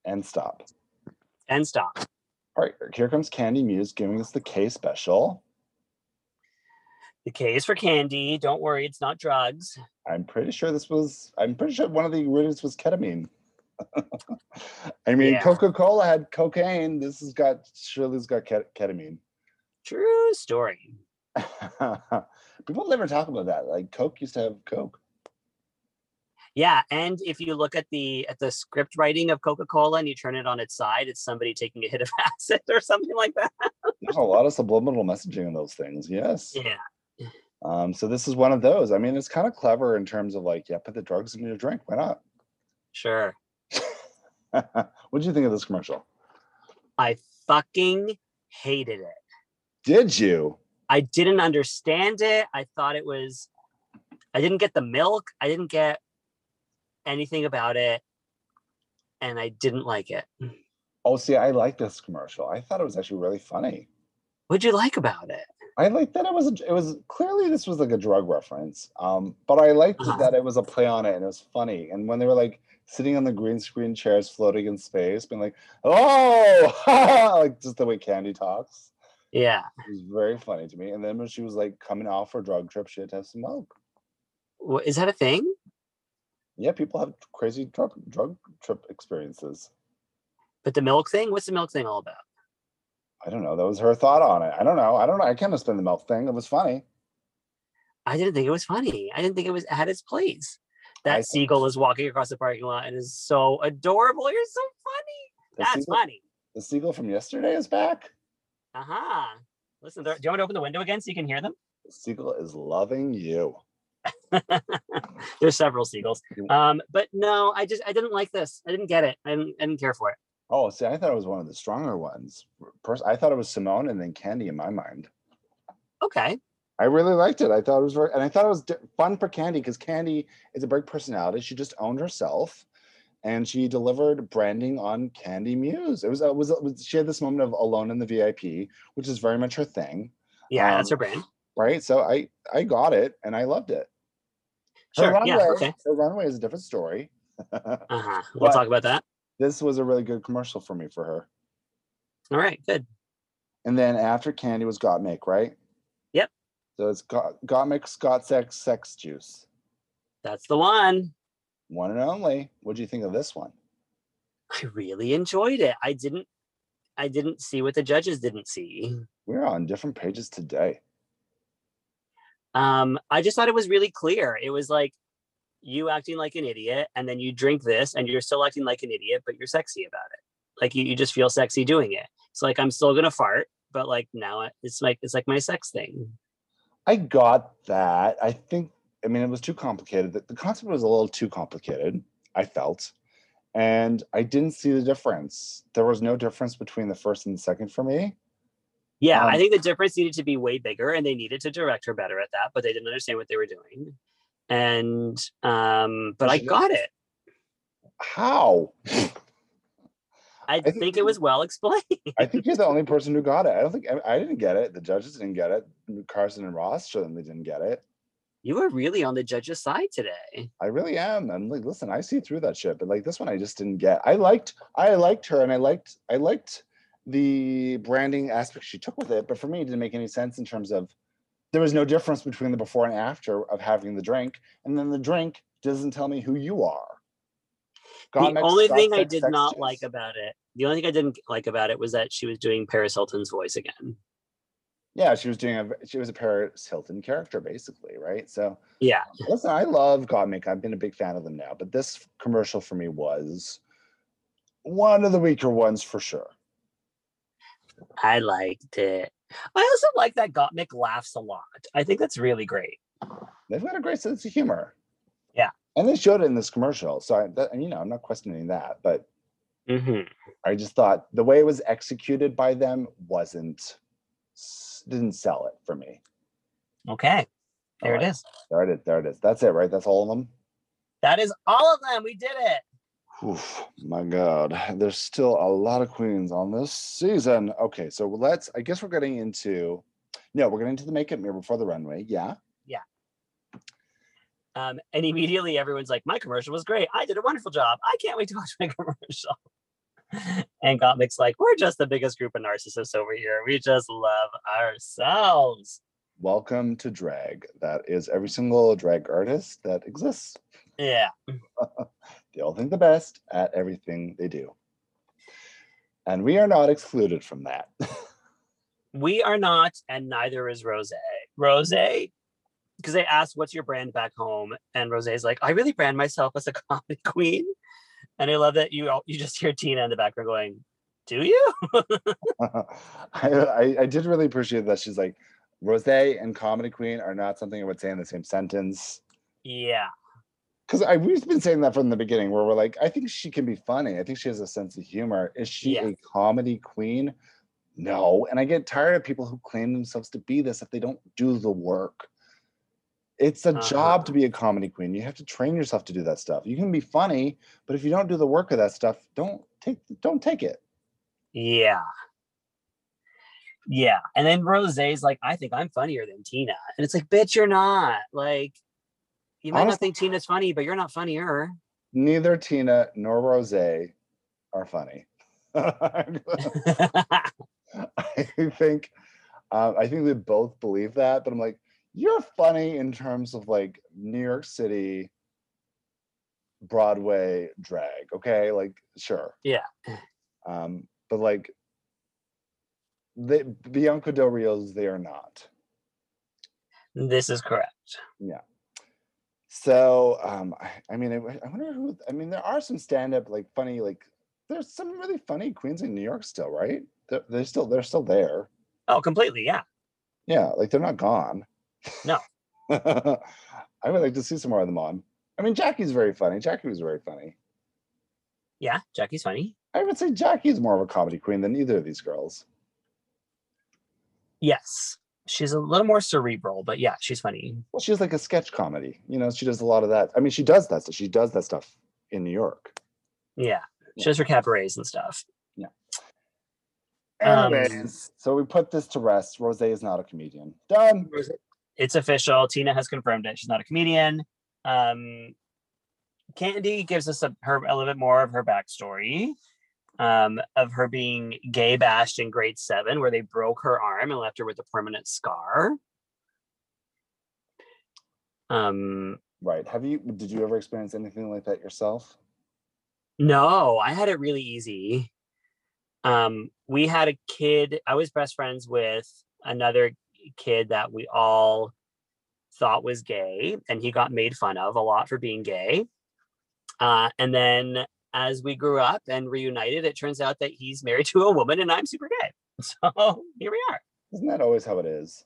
S1: And stop.
S2: And stop.
S1: All right, here comes Candy Muse giving us the K special.
S2: The K is for candy. Don't worry, it's not drugs.
S1: I'm pretty sure this was. I'm pretty sure one of the ingredients was ketamine. I mean,
S2: Yeah.
S1: Coca Cola had cocaine. This has got surely's got ket- ketamine.
S2: True story.
S1: People never talk about that. Like Coke used to have Coke.
S2: Yeah, and if you look at the at the script writing of Coca-Cola and you turn it on its side, it's somebody taking a hit of acid or something like that.
S1: There's a lot of subliminal messaging in those things. Yes.
S2: Yeah.
S1: Um, so this is one of those. I mean, it's kind of clever in terms of like, yeah, put the drugs in your drink. Why
S2: Sure.
S1: not? what do you think of this commercial?
S2: I fucking hated it.
S1: Did you?
S2: I didn't understand it. I thought it was I didn't get the milk. I didn't get anything about it. And I didn't like it.
S1: Oh, see, I like this commercial. I thought it was actually really funny.
S2: What'd you like about it?
S1: I liked that it was a, it was clearly this was like a drug reference, um, but I liked
S2: Uh-huh.
S1: that it was a play on it and it was funny. And when they were like sitting on the green screen chairs, floating in space, being like, "Oh," like just the way Candy talks,
S2: Yeah.
S1: it was very funny to me. And then when she was like coming off her drug trip, she had to have some milk.
S2: Wha- Is that a thing?
S1: Yeah, people have crazy drug drug trip experiences.
S2: But the milk thing? What's the milk thing all about?
S1: I don't know. That was her thought on it. I don't know. I don't know. I can't have spin the milk thing. It was funny.
S2: I didn't think it was funny. I didn't think it was at its place.
S1: I
S2: That
S1: think-
S2: seagull is walking across the parking lot and is so adorable. You're so funny.
S1: The
S2: That's
S1: seagull,
S2: funny.
S1: the seagull from yesterday is back.
S2: Uh-huh. Listen, they're- do you want me to open the window again so you can hear them?
S1: The seagull is loving you.
S2: There's several seagulls.
S1: You-
S2: Um, but no, I just I didn't like this. I didn't get it. I didn't, I didn't care for it.
S1: Oh, see, I thought it was one of the stronger ones. Pers- I thought it was Simone and then Candy in my mind.
S2: Okay.
S1: I really liked it. I thought it was very, and I thought it was di- fun for Candy because Candy is a big personality. She just owned herself, and she delivered branding on Candy Muse. It was, it was, it was she had this moment of alone in the VIP, which is very much her thing,
S2: Yeah, that's her
S1: Um,
S2: brand.
S1: right? So I, I got it, and I loved it. Her
S2: Sure.
S1: runway,
S2: Yeah. Okay.
S1: her runway is a different story.
S2: Uh-huh. We'll
S1: But-
S2: talk about that.
S1: this was a really good commercial for me for her.
S2: All right, good.
S1: And then after Candy was Got Make, right?
S2: Yep.
S1: So it's Got, Got Make, Scott Sex, Sex Juice.
S2: That's the one.
S1: One and only. What do you think of this one?
S2: I really enjoyed it. I didn't I didn't see what the judges didn't see.
S1: We're on different pages today.
S2: Um, I just thought it was really clear. It was like you acting like an idiot, and then you drink this, and you're still acting like an idiot, but you're sexy about it. Like you, you just feel sexy doing it. It's like I'm still gonna fart, but like now I- it's like it's like my sex thing.
S1: I got that. I think, I mean, it was too complicated. The, the concept was a little too complicated, I felt. And I didn't see the difference. There was no difference between the first and the second for me.
S2: Yeah, I
S1: Um,
S2: think the difference needed to be way bigger, and they needed to direct her better at that, but they didn't understand what they were doing. And um, but I
S1: Sure.
S2: got it.
S1: How?
S2: I
S1: think
S2: think
S1: they-
S2: it was well explained.
S1: I think you're the only person who got it. I don't think I, I didn't get it. The judges didn't get it. Carson and Ross certainly didn't get it.
S2: You were really on the judges' side today.
S1: I really am. I'm like, listen, I see through that shit, but like this one, I just didn't get. I liked, I liked her, and I liked, I liked the branding aspect she took with it. But for me, it didn't make any sense in terms of there was no difference between the before and after of having the drink, and then the drink doesn't tell me who you are.
S2: the
S1: God makes
S2: only
S1: God
S2: thing I
S1: sex,
S2: did
S1: sex
S2: not
S1: juice.
S2: like about it, the only thing I didn't like about it was that she was doing Paris Hilton's voice again.
S1: yeah, she was doing a, she was a Paris Hilton character basically, right? So
S2: Yeah.
S1: Listen, I love Gottmik. I've been a big fan of them now, but this commercial for me was one of the weaker ones for sure.
S2: I liked it. I also like that Gottmik laughs a lot. I think that's really great.
S1: They've got a great sense of humor.
S2: Yeah.
S1: And they showed it in this commercial. So, I, that, you know, I'm not questioning that, but
S2: hmm
S1: I just thought the way it was executed by them wasn't, s- didn't sell it for me.
S2: Okay. There
S1: Alright.
S2: it is.
S1: There it is. There it is. That's it, right? That's all of them?
S2: That is all of them. We did it.
S1: Oof, my God, there's still a lot of queens on this season. Okay, so let's. I guess we're getting into. No, we're getting into the makeup mirror before the runway. Yeah,
S2: Um, and immediately everyone's like, my commercial was great. I did a wonderful job. I can't wait to watch my commercial. and Gottmik's like, we're just the biggest group of narcissists over here. We just love ourselves.
S1: welcome to drag. That is every single drag artist that exists.
S2: Yeah.
S1: They all think the best at everything they do, and we are not excluded from that.
S2: We are not, and neither is Rose. Rose, because they asked, What's your brand back home? And Rose's like, I really brand myself as a comedy queen. And I love that you all, you just hear Tina in the background going, Do you?
S1: I, I I did really appreciate that. She's like, Rose and comedy queen are not something I would say in the same sentence.
S2: Yeah.
S1: Because I we've been saying that from the beginning, where we're like, I think she can be funny. I think she has a sense of humor. Is she
S2: Yeah.
S1: a comedy queen? No. And I get tired of people who claim themselves to be this if they don't do the work. It's a
S2: Uh-huh.
S1: job to be a comedy queen. You have to train yourself to do that stuff. You can be funny, but if you don't do the work of that stuff, don't take don't take it.
S2: Yeah. Yeah. And then Rose's like, I think I'm funnier than Tina. And it's like, bitch, you're not. Like, you might not
S1: Honestly-
S2: think Tina's funny, but you're not funnier.
S1: Neither Tina nor Rose are funny. I think uh, I think they both believe that, but I'm like, you're funny in terms of like New York City Broadway drag, okay? Like, sure.
S2: Yeah.
S1: Um, but like they Bianca Del Rio's they are not.
S2: this is correct.
S1: So um I, I mean I, w- I wonder who I mean there are some stand-up like funny like there's some really funny queens in New York still, right? They're, they're still they're still there.
S2: Oh, completely. Yeah.
S1: Yeah, like they're not gone.
S2: No.
S1: I would like to see some more of them on. I mean, Jackie's very funny. Jackie was very funny.
S2: Yeah. Jackie's funny.
S1: I would say Jackie's more of a comedy queen than either of these girls.
S2: Yes. She's a little more cerebral, but yeah, she's funny.
S1: Well, she's like a sketch comedy. You know, she does a lot of that. I mean, she does that. She does that stuff in New York.
S2: Yeah.
S1: Yeah.
S2: She does her cabarets and stuff. Um,
S1: Anyways, so we put this to rest. Rose is not a comedian. Done.
S2: It's official. Tina has confirmed it. She's not a comedian. Um, Candy gives us a, her a little bit more of her backstory um, of her being gay bashed in grade seven, where they broke her arm and left her with a permanent scar. Um,
S1: Right. Have you did you ever experience anything like that yourself?
S2: No, I had it really easy. Um, we had a kid, I was best friends with another kid that we all thought was gay, and he got made fun of a lot for being gay. Uh, and then as we grew up and reunited, it turns out that he's married to a woman and I'm super gay. So here we are.
S1: Isn't that always how it is?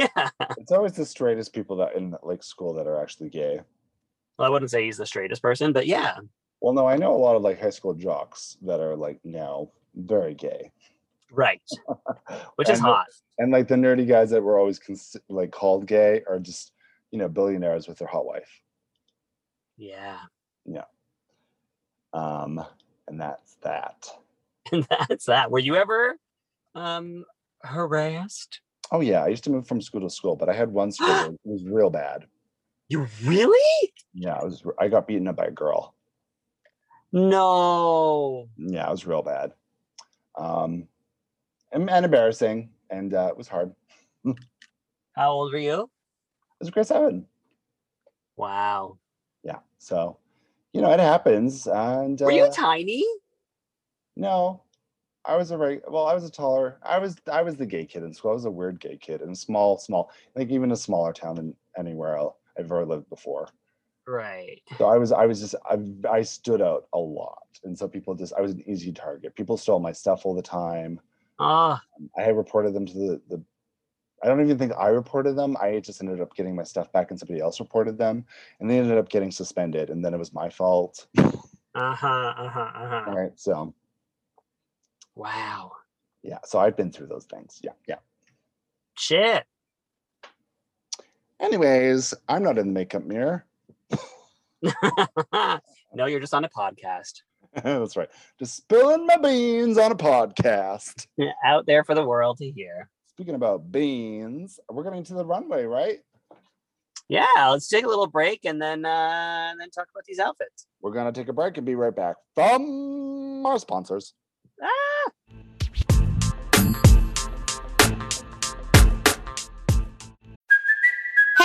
S2: Yeah.
S1: It's always the straightest people that in like school that are actually gay.
S2: Well, I wouldn't say he's the straightest person, but yeah.
S1: Well, no, I know a lot of like high school jocks that are like now very gay,
S2: Right. Which is
S1: And-
S2: hot.
S1: and like the nerdy guys that were always cons- like called gay are just you know billionaires with their hot wife.
S2: Yeah.
S1: Um, and that's that.
S2: And that's that. Were you ever um harassed?
S1: Oh yeah, I used to move from school to school, but I had one school that was real bad.
S2: You really?
S1: Yeah, I was. I got beaten up by a girl.
S2: No.
S1: Yeah, it was real bad. Um, and, and embarrassing, and uh, it was hard. It
S2: How old were you?
S1: was a grade seven.
S2: Wow.
S1: Yeah, so you know it happens. And
S2: Were you
S1: uh,
S2: tiny?
S1: No, I was a right. Well, I was a taller. I was I was the gay kid in school. I was a weird gay kid in a small, small, like even a smaller town than anywhere else I've ever lived before.
S2: Right.
S1: So I was I was just I I stood out a lot, and so people just I was an easy target. People stole my stuff all the time.
S2: Ah,
S1: I had reported them to the the. I don't even think I reported them. I just ended up getting my stuff back, and somebody else reported them, and they ended up getting suspended, and then it was my fault.
S2: uh-huh, uh-huh, uh-huh.
S1: Right, so
S2: Wow.
S1: yeah, so I've been through those things. Yeah, yeah.
S2: Shit.
S1: Anyways, I'm not in the makeup mirror.
S2: no, you're just on a podcast.
S1: That's right. Just spilling my beans on a podcast.
S2: Out there for the world to hear.
S1: Speaking about beans, we're getting to the runway, right?
S2: Yeah, let's take a little break and then uh and then talk about these outfits.
S1: We're going to take a break and be right back from our sponsors.
S2: Ah!
S3: Hey,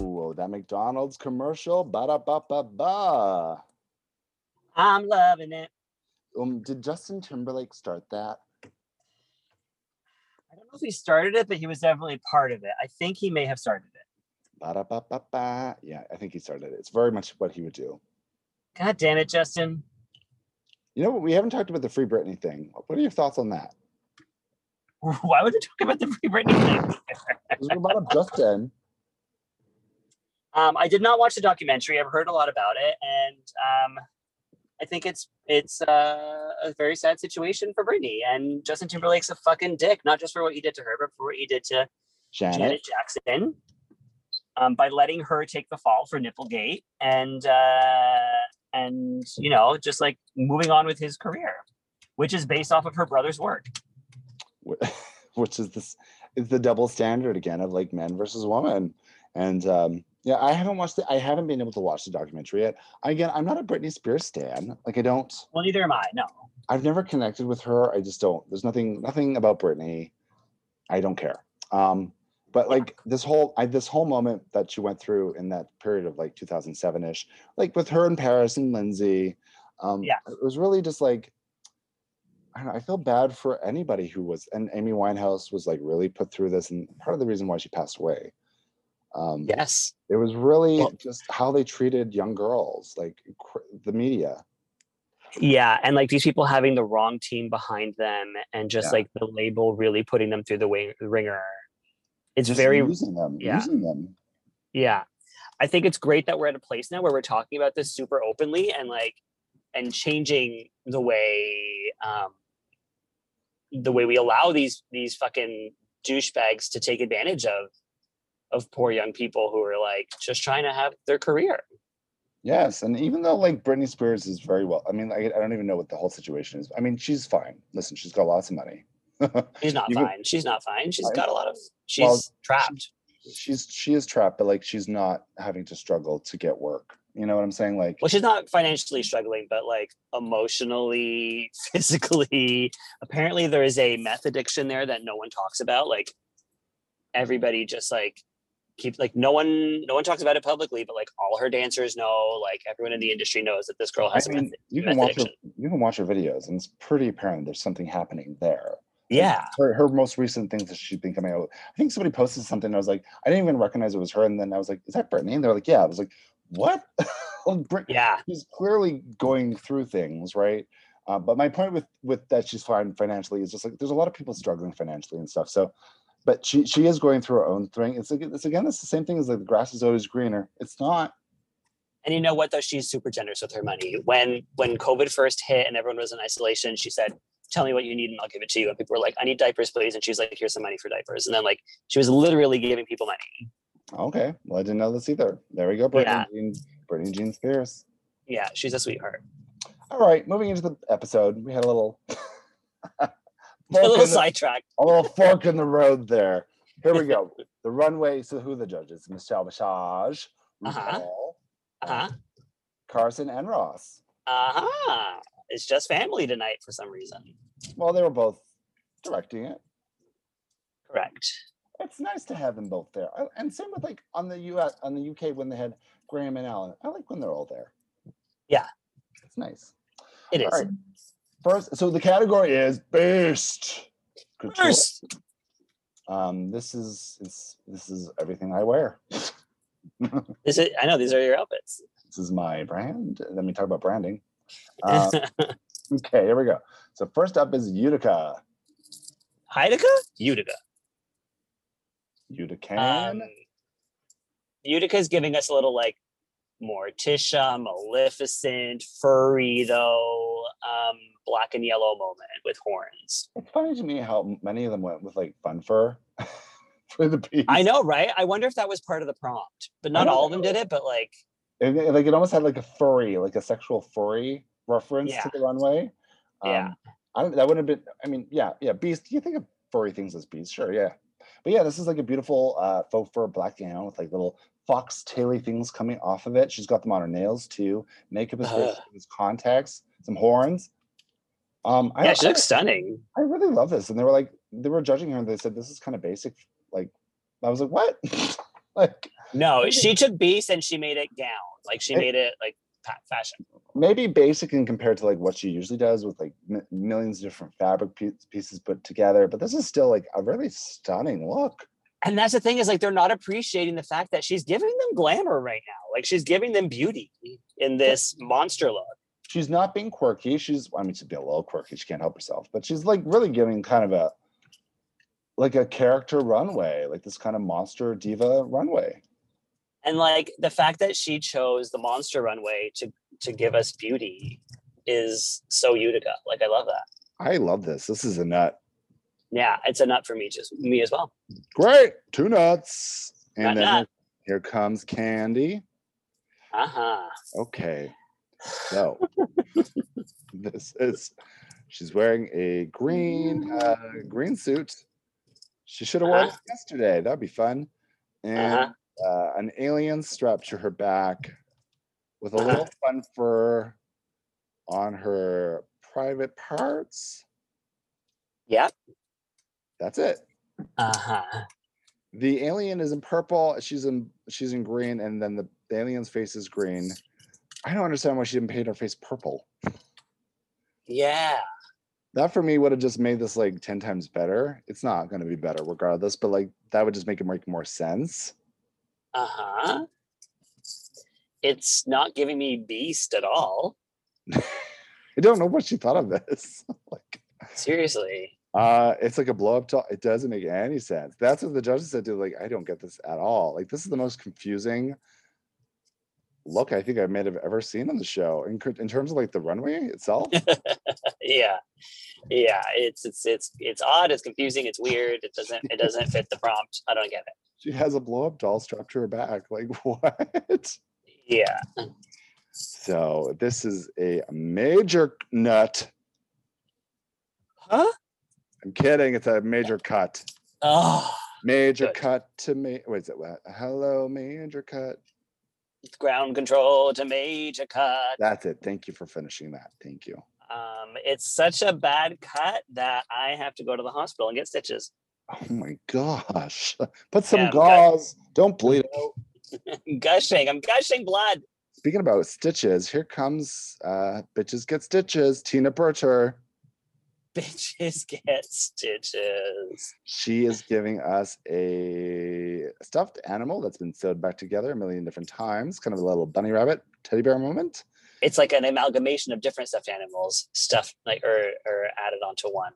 S1: Ooh, that McDonald's commercial. Ba da ba ba ba.
S2: I'm loving it.
S1: Um, did Justin Timberlake start that?
S2: I don't know if he started it, but he was definitely part of it. I think he may have started it.
S1: Ba da ba ba ba. Yeah, I think he started it. It's very much what he would do.
S2: God damn it, Justin.
S1: You know what? We haven't talked about the Free Britney thing. What are your thoughts on that?
S2: Why would you talk about the free Britney thing?
S1: 'Cause We brought up Justin.
S2: Um, I did not watch the documentary. I've heard a lot about it, and um, I think it's it's uh, a very sad situation for Britney. And Justin Timberlake's a fucking dick, not just for what he did to her, but for what he did to
S1: Janet.
S2: Janet Jackson um, by letting her take the fall for Nipplegate, and uh, and you know just like moving on with his career, which is based off of her brother's work.
S1: wh- Which is this is the double standard again of like men versus woman. And um yeah, I haven't watched the I haven't been able to watch the documentary yet. Again, I'm not a Britney Spears stan. Like I don't
S2: Well, neither am I. No,
S1: I've never connected with her. I just don't. There's nothing nothing about Britney. I don't care. Um, but like this whole I, this whole moment that she went through in that period of like 2007 ish, like with her in Paris and Lindsay, um,
S2: Yeah.
S1: it was really just like I don't know. I feel bad for anybody who was and Amy Winehouse was like really put through this, and part of the reason why she passed away. Um,
S2: yes,
S1: it was really
S2: Well-
S1: just how they treated young girls, like cr- the media.
S2: yeah, and like these people having the wrong team behind them, and just
S1: Yeah.
S2: like the label really putting them through the wing- ringer. It's
S1: just
S2: very
S1: using them,
S2: yeah.
S1: using them.
S2: Yeah. I think it's great that we're at a place now where we're talking about this super openly and like and changing the way um the way we allow these these fucking douchebags to take advantage of of poor young people who are like just trying to have their career.
S1: Yes, and even though like Britney Spears is very well, I mean, I, I don't even know what the whole situation is. I mean, she's fine. Listen, she's got lots of money.
S2: She's not
S1: You could-
S2: fine. She's not fine. She's
S1: I-
S2: got a lot of she's
S1: Well,
S2: trapped.
S1: she's she is trapped, but like she's not having to struggle to get work. You know what I'm saying? Like,
S2: Well, she's not financially struggling, but like emotionally, physically. Apparently, there is a meth addiction there that no one talks about. Like everybody just like keeps like no one no one talks about it publicly, but like all her dancers know. Like everyone in the industry knows that this girl
S1: I
S2: has a
S1: mean,
S2: meth.
S1: you
S2: meth
S1: can watch her,
S2: addiction.
S1: you can watch her videos, and it's pretty apparent there's something happening there.
S2: Yeah,
S1: Her, her most recent things that she's been coming out. with- I think somebody posted something. And I was like, I didn't even recognize it was her, and then I was like, is that Britney? And they're like, yeah. I was like, what? Like, Brit-
S2: yeah,
S1: she's clearly going through things, right? Uh, but my point with with that she's fine financially is just like there's a lot of people struggling financially and stuff. So, but she she is going through her own thing. It's like it's again it's the same thing as like the grass is always greener. It's not.
S2: and you know what though? She's super generous with her money. When when COVID first hit and everyone was in isolation, she said. Tell me what you need and I'll give it to you. And people were like, I need diapers, please. And she's like, here's some money for diapers. And then, like, she was literally giving people money.
S1: Okay, well I didn't know this either. There we go, Brittany
S2: Yeah.
S1: Jean, Brittany Jean Spears.
S2: Yeah, she's a sweetheart.
S1: All right, moving into the episode, we had a little
S2: a
S1: fork
S2: little
S1: in the-
S2: sidetrack.
S1: a little fork in the road there. Here we go. The runway. So who the judges? Michelle Visage,
S2: Uh-huh.
S1: RuPaul,
S2: Uh huh.
S1: Carson, and Ross.
S2: Uh huh. It's just family tonight for some reason.
S1: Well, they were both directing it.
S2: Correct.
S1: It's nice to have them both there. I- And same with like on the US on the UK when they had Graham and Allen. I like when they're all there.
S2: Yeah.
S1: It's nice.
S2: It is.
S1: All right. First, so the category is best. couture.
S2: First,
S1: Um, this is it's, this is everything I wear.
S2: this is, I know these are your outfits.
S1: This is my brand. Let me talk about branding. Uh, okay, here we go. So first up is Utica.
S2: Heidica? Utica.
S1: Utica.
S2: Um, Utica's giving us a little like Morticia, Maleficent, furry though, um, black and yellow moment with horns.
S1: it's funny to me how many of them went with like fun fur. for the piece.
S2: I know, right? I wonder if that was part of the prompt, but not
S1: don't
S2: all of them did it. But like,
S1: It- it- like it almost had like a furry, like a sexual furry reference
S2: Yeah.
S1: to the runway. Um,
S2: Yeah.
S1: I don't. That wouldn't have been. I mean, yeah, yeah. Beast. You think of furry things as bees? Sure, yeah. But yeah, this is like a beautiful uh, faux fur black gown with like little fox taily things coming off of it. She's got them on her nails too. Makeup is great.
S2: Ugh.
S1: She's got contacts, some horns. Um, I,
S2: yeah, she
S1: I-
S2: looks stunning.
S1: I really love this. And they were like, they were judging her and they said, this is kind of basic. Like, I was like, what? like,
S2: No, she took Beast and she made it gown. Like she
S1: It-
S2: made it like pa- fashion.
S1: maybe basic and compared to like what she usually does with like m- millions of different fabric pie- pieces put together. But this is still like a really stunning look.
S2: And that's the thing is like they're not appreciating the fact that she's giving them glamour right now. Like she's giving them beauty in this monster look.
S1: She's not being quirky. She's, I mean, she'd be a little quirky. She can't help herself, but she's like really giving kind of a, like a character runway, like this kind of monster diva runway.
S2: And like the fact that she chose the monster runway to to give us beauty is so Utica. Like I love that.
S1: I love this. This is a nut.
S2: Yeah, it's a nut for me just me as well.
S1: Great. Two nuts. And
S2: Nut,
S1: then
S2: nut.
S1: here comes candy.
S2: Uh-huh.
S1: Okay. So this is she's wearing a green uh green suit. She should have worn
S2: Uh-huh.
S1: this yesterday. That'd be fun. And uh an alien strapped to her back with a
S2: Uh-huh.
S1: little fun fur on her private parts.
S2: Yep.
S1: That's it.
S2: Uh-huh.
S1: the alien is in purple she's in she's in green and then the, the alien's face is green i don't understand why she didn't paint her face purple
S2: Yeah.
S1: that for me would have just made this like 10 times better it's not going to be better regardless but like that would just make it make more sense
S2: Uh-huh. It's not giving me beast at all.
S1: i don't know what she thought of this like
S2: Seriously.
S1: uh it's like a blow up doll it doesn't make any sense that's what the judges said to like i don't get this at all like this is the most confusing look i think i may have ever seen on the show in, in terms of like the runway itself
S2: Yeah. Yeah. It's it's it's it's odd, it's confusing, it's weird, it doesn't it doesn't fit the prompt. I don't get it.
S1: She has a blow up doll strapped to her back. Like, what?
S2: Yeah.
S1: So, this is a major nut.
S2: Huh?
S1: I'm kidding. It's a major cut.
S2: Oh
S1: Major
S2: Good.
S1: cut to me. Wait, is it what? Hello, major cut.
S2: ground control to major cut.
S1: That's it. Thank you for finishing that. Thank you.
S2: Um, it's such a bad cut that I have to go to the hospital and get stitches.
S1: Oh my gosh. Put some
S2: Yeah, Mm-hmm. but-
S1: gauze. Don't bleed out.
S2: gushing, I'm gushing blood.
S1: Speaking about stitches, here comes uh bitches get stitches. Tina Burter.
S2: Bitches get stitches.
S1: She is giving us a stuffed animal that's been sewed back together a million different times, kind of a little bunny rabbit teddy bear moment.
S2: It's like an amalgamation of different stuffed animals stuffed like or or added onto one.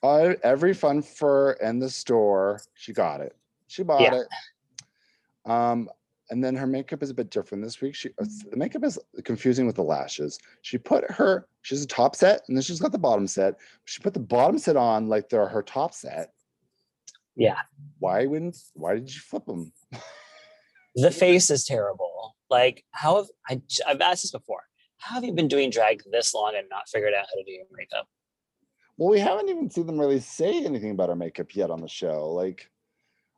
S1: Uh, every fun fur in the store, she got it. She bought
S2: Yeah.
S1: it. Um, and then her makeup is a bit different this week. She uh, s- the makeup is confusing with the lashes. She put her she's a top set, and then she's got the bottom set. She put the bottom set on like they're her top set.
S2: Yeah.
S1: Why wouldn't? Why did you flip them?
S2: The face is terrible. Like how have I j- I've asked this before. How have you been doing drag this long and not figured out how to do your makeup?
S1: Well, we haven't even seen them really say anything about her makeup yet on the show. Like,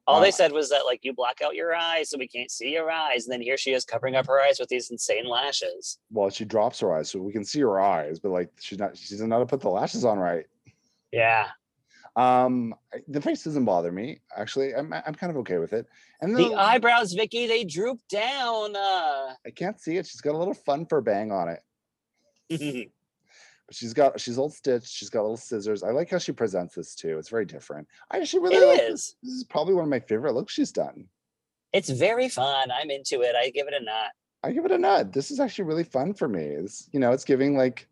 S2: All
S1: Uh,
S2: they said was that like you black out your eyes so we can't see your eyes. And then here she is covering up her eyes with these insane lashes.
S1: well, she drops her eyes, so we can see her eyes, but like, she's not, she doesn't know how to put the lashes on right.
S2: Yeah.
S1: Um, I- the face doesn't bother me actually. I'm, I'm kind of okay with it. And then
S2: The eyebrows, Vicky, they droop down. Uh.
S1: I can't see it. She's got a little fun fur bang on it. But she's got, she's old stitched. She's got little scissors. I like how she presents this too. It's very different. I actually really like
S2: it
S1: this.
S2: is.
S1: This is probably one of my favorite looks she's done.
S2: It's very fun. I'm into it. I give it a nut.
S1: I give it a nod. This is actually really fun for me. It's, you know, it's giving like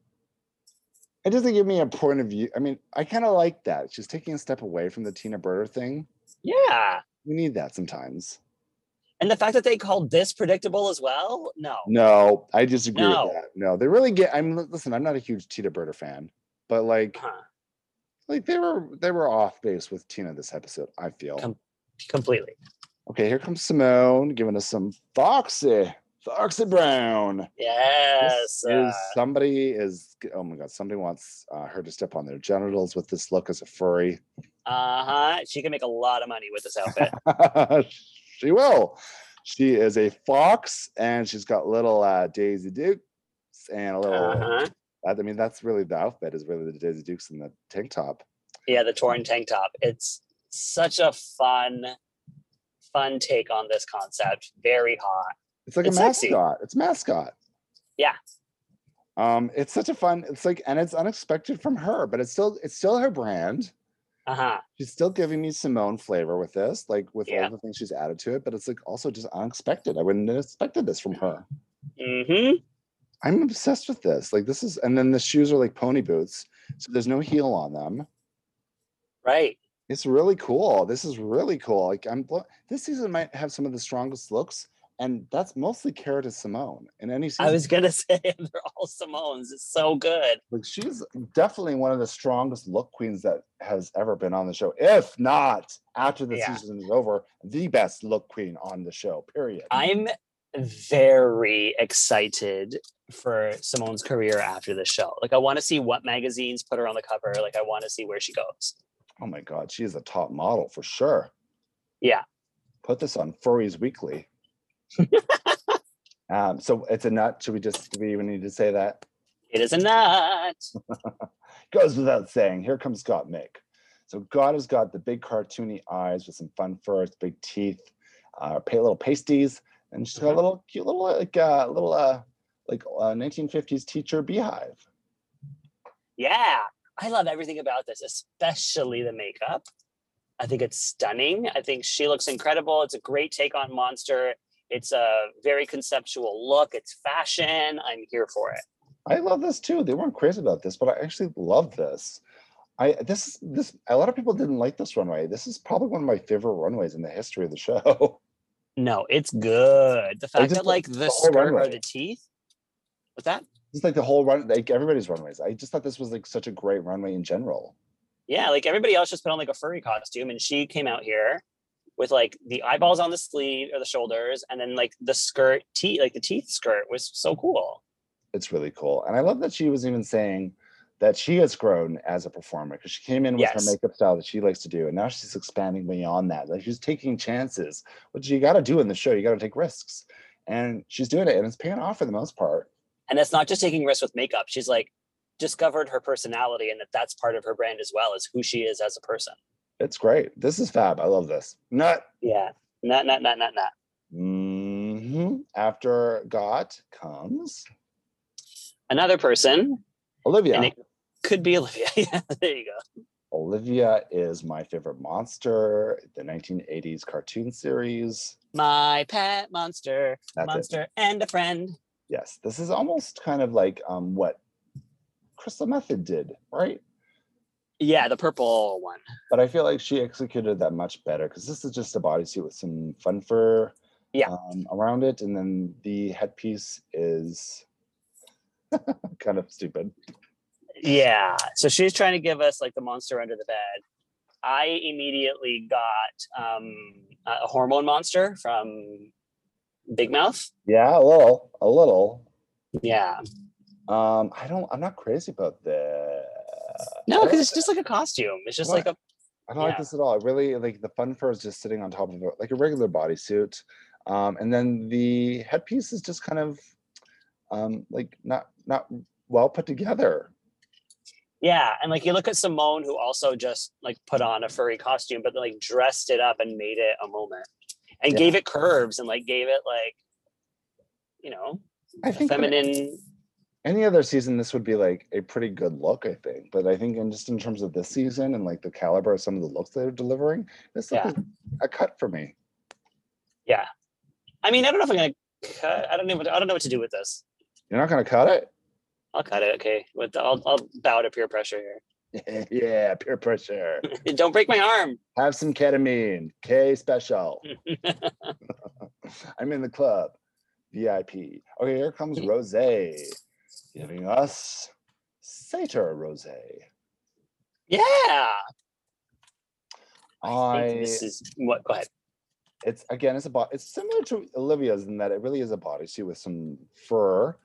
S1: it doesn't give me a point of view. I mean, I kind of like that. She's taking a step away from the Tina Burner thing.
S2: Yeah.
S1: We need that sometimes.
S2: And the fact that they called this predictable as well? No.
S1: No, I disagree
S2: No.
S1: with that. No, they really get. I'm li- listen. I'm not a huge Tina Burner fan, but like,
S2: Huh.
S1: like they were they were off base with Tina this episode. I feel
S2: Com- completely.
S1: Okay, here comes Simone giving us some Foxy, Foxy Brown.
S2: Yes.
S1: This
S2: uh,
S1: is somebody is oh my god, somebody wants uh, her to step on their genitals with this look as a furry.
S2: uh-huh. She can make a lot of money with this outfit.
S1: she will. She is a fox, and she's got little uh, Daisy Dukes and a little.
S2: Uh-huh.
S1: I mean, that's really the outfit is really the Daisy Dukes and the tank top.
S2: Yeah, the torn tank top. It's such a fun, fun take on this concept. Very hot.
S1: It's like
S2: It's
S1: a
S2: sexy.
S1: mascot. It's mascot.
S2: Yeah.
S1: Um, it's such a fun. It's like, and it's unexpected from her, but it's still, it's still her brand.
S2: Uh-huh.
S1: She's still giving me Simone flavor with this, like with
S2: Yeah.
S1: all the things she's added to it. But it's like also just unexpected. I wouldn't have expected this from her.
S2: Mm-hmm.
S1: I'm obsessed with this. Like this is, and then the shoes are like pony boots, so there's no heel on them.
S2: Right.
S1: It's really cool. This is really cool. Like I'm, blo- this season might have some of the strongest looks, and that's mostly Cara to Simone in any season.
S2: I was gonna say they're all Simones. It's so good.
S1: Like she's definitely one of the strongest look queens that has ever been on the show. If not, after the
S2: Yeah.
S1: season is over, the best look queen on the show. Period.
S2: I'm very excited for Simone's career after the show. Like I want to see what magazines put her on the cover. Like I want to see where she goes.
S1: oh my god, she is a top model for sure.
S2: Yeah.
S1: Put this on Furries Weekly. um, so it's a nut. Should we just do we even need to say that?
S2: It is a nut.
S1: Goes without saying. Here comes God Mick. So God has got the big cartoony eyes with some fun furs, big teeth, uh, pa- little pasties, and she's got a little cute little like uh, little uh, like uh, 1950s teacher beehive.
S2: Yeah. I love everything about this, especially the makeup. I think it's stunning. I think she looks incredible. It's a great take on Monster. It's a very conceptual look. It's fashion. I'm here for it.
S1: I love this too. They weren't crazy about this, but I actually love this. I this is- this a lot of people didn't like this runway. This is probably one of my favorite runways in the history of the show.
S2: No, it's good. The fact
S1: just
S2: that like
S1: like
S2: the,
S1: the whole
S2: skirt
S1: runway.
S2: or the teeth. What's that?
S1: Just like the whole run, like everybody's runways. I just thought this was like such a great runway in general.
S2: Yeah, like everybody else just put on like a furry costume, and she came out here with like the eyeballs on the sleeve or the shoulders, and then like the skirt teeth, like the teeth skirt was so cool.
S1: It's really cool, and I love that she was even saying that she has grown as a performer because she came in with
S2: Yes.
S1: her makeup style that she likes to do, and now she's expanding beyond that. Like she's taking chances, which you got to do in the show. You got to take risks, and she's doing it, and it's paying off for the most part.
S2: And that's not just taking risks with makeup. She's like discovered her personality, and that that's part of her brand as well is who she is as a person.
S1: It's great. This is fab. I love this. Nut.
S2: Yeah, not not not not not.
S1: hmm After got comes
S2: Another person
S1: Olivia.
S2: And it- could be Olivia. yeah, there you go.
S1: Olivia is my favorite monster, the 1980s cartoon series.
S2: My pet monster,
S1: That's it.
S2: monster, and a friend.
S1: Yes, this is almost kind of like um, what Crystal Method did, right?
S2: Yeah, the purple one.
S1: But I feel like she executed that much better because this is just a bodysuit with some fun fur
S2: Yeah.
S1: um, around it. And then the headpiece is kind of stupid.
S2: Yeah. So she's trying to give us like the monster under the bed. I immediately got um, a hormone monster from Big Mouth.
S1: Yeah, a little, a little.
S2: Yeah.
S1: Um, I don't. I'm not crazy about the.
S2: No,
S1: I don't-
S2: because it's just like a costume. It's just like a
S1: I don't like
S2: yeah.
S1: this at all. I really like the fun fur is just sitting on top of a, like a regular bodysuit, um, and then the headpiece is just kind of, um, like not not well put together.
S2: yeah, and like you look at Simone, who also just like put on a furry costume, but like dressed it up and made it a moment, and
S1: Yeah.
S2: gave it curves and like gave it like, you know,
S1: I
S2: a
S1: think in
S2: feminine.
S1: any other season this would be like a pretty good look, I think. But I think in just in terms of this season and like the caliber of some of the looks they're delivering, this look
S2: Yeah.
S1: is a cut for me.
S2: I mean, I don't know if I'm gonna cut. I don't even. I don't know what to do with this.
S1: You're not gonna cut it?
S2: I'll cut it. Okay, with the, I'll I'll bow to peer pressure here.
S1: yeah, peer pressure.
S2: Don't break my arm.
S1: Have some ketamine. K special. I'm in the club. VIP. Okay, here comes Rose giving us Satyr Rose.
S2: Yeah. I think
S1: I-
S2: this is what. Go ahead.
S1: it's again it's a bo- it's similar to olivia's in that it really is a bodysuit with some fur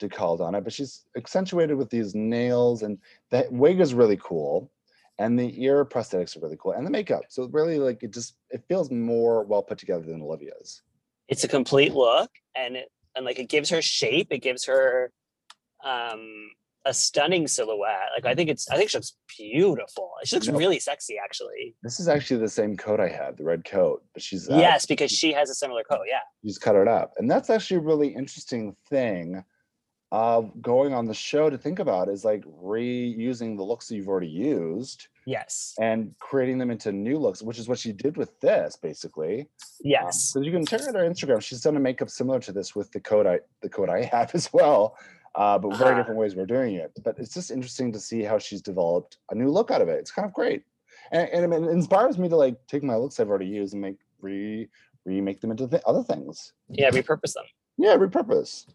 S1: decaled on it but she's accentuated with these nails and that wig is really cool and the ear prosthetics are really cool and the makeup so really like it just it feels more well put together than olivia's
S2: It's a complete look, and it, and like it gives her shape. It gives her um a stunning silhouette. Like I think it's. I think she looks beautiful. She looks
S1: No.
S2: really sexy, actually.
S1: this is actually the same coat i had the red coat but she's uh,
S2: Yes, because she has a similar coat. Yeah.
S1: she's cut it up and that's actually a really interesting thing of going on the show to think about is like reusing the looks that you've already used
S2: Yes.
S1: and creating them into new looks, which is what she did with this, basically.
S2: Yes.
S1: So you can check out her Instagram. She's done a makeup similar to this with the code I the code I have as well, uh, but very
S2: Ah.
S1: different ways we're doing it. But it's just interesting to see how she's developed a new look out of it. It's kind of great, and, and it inspires me to like take my looks I've already used and make re remake them into th- other things.
S2: Yeah. Repurpose them.
S1: Yeah, repurpose.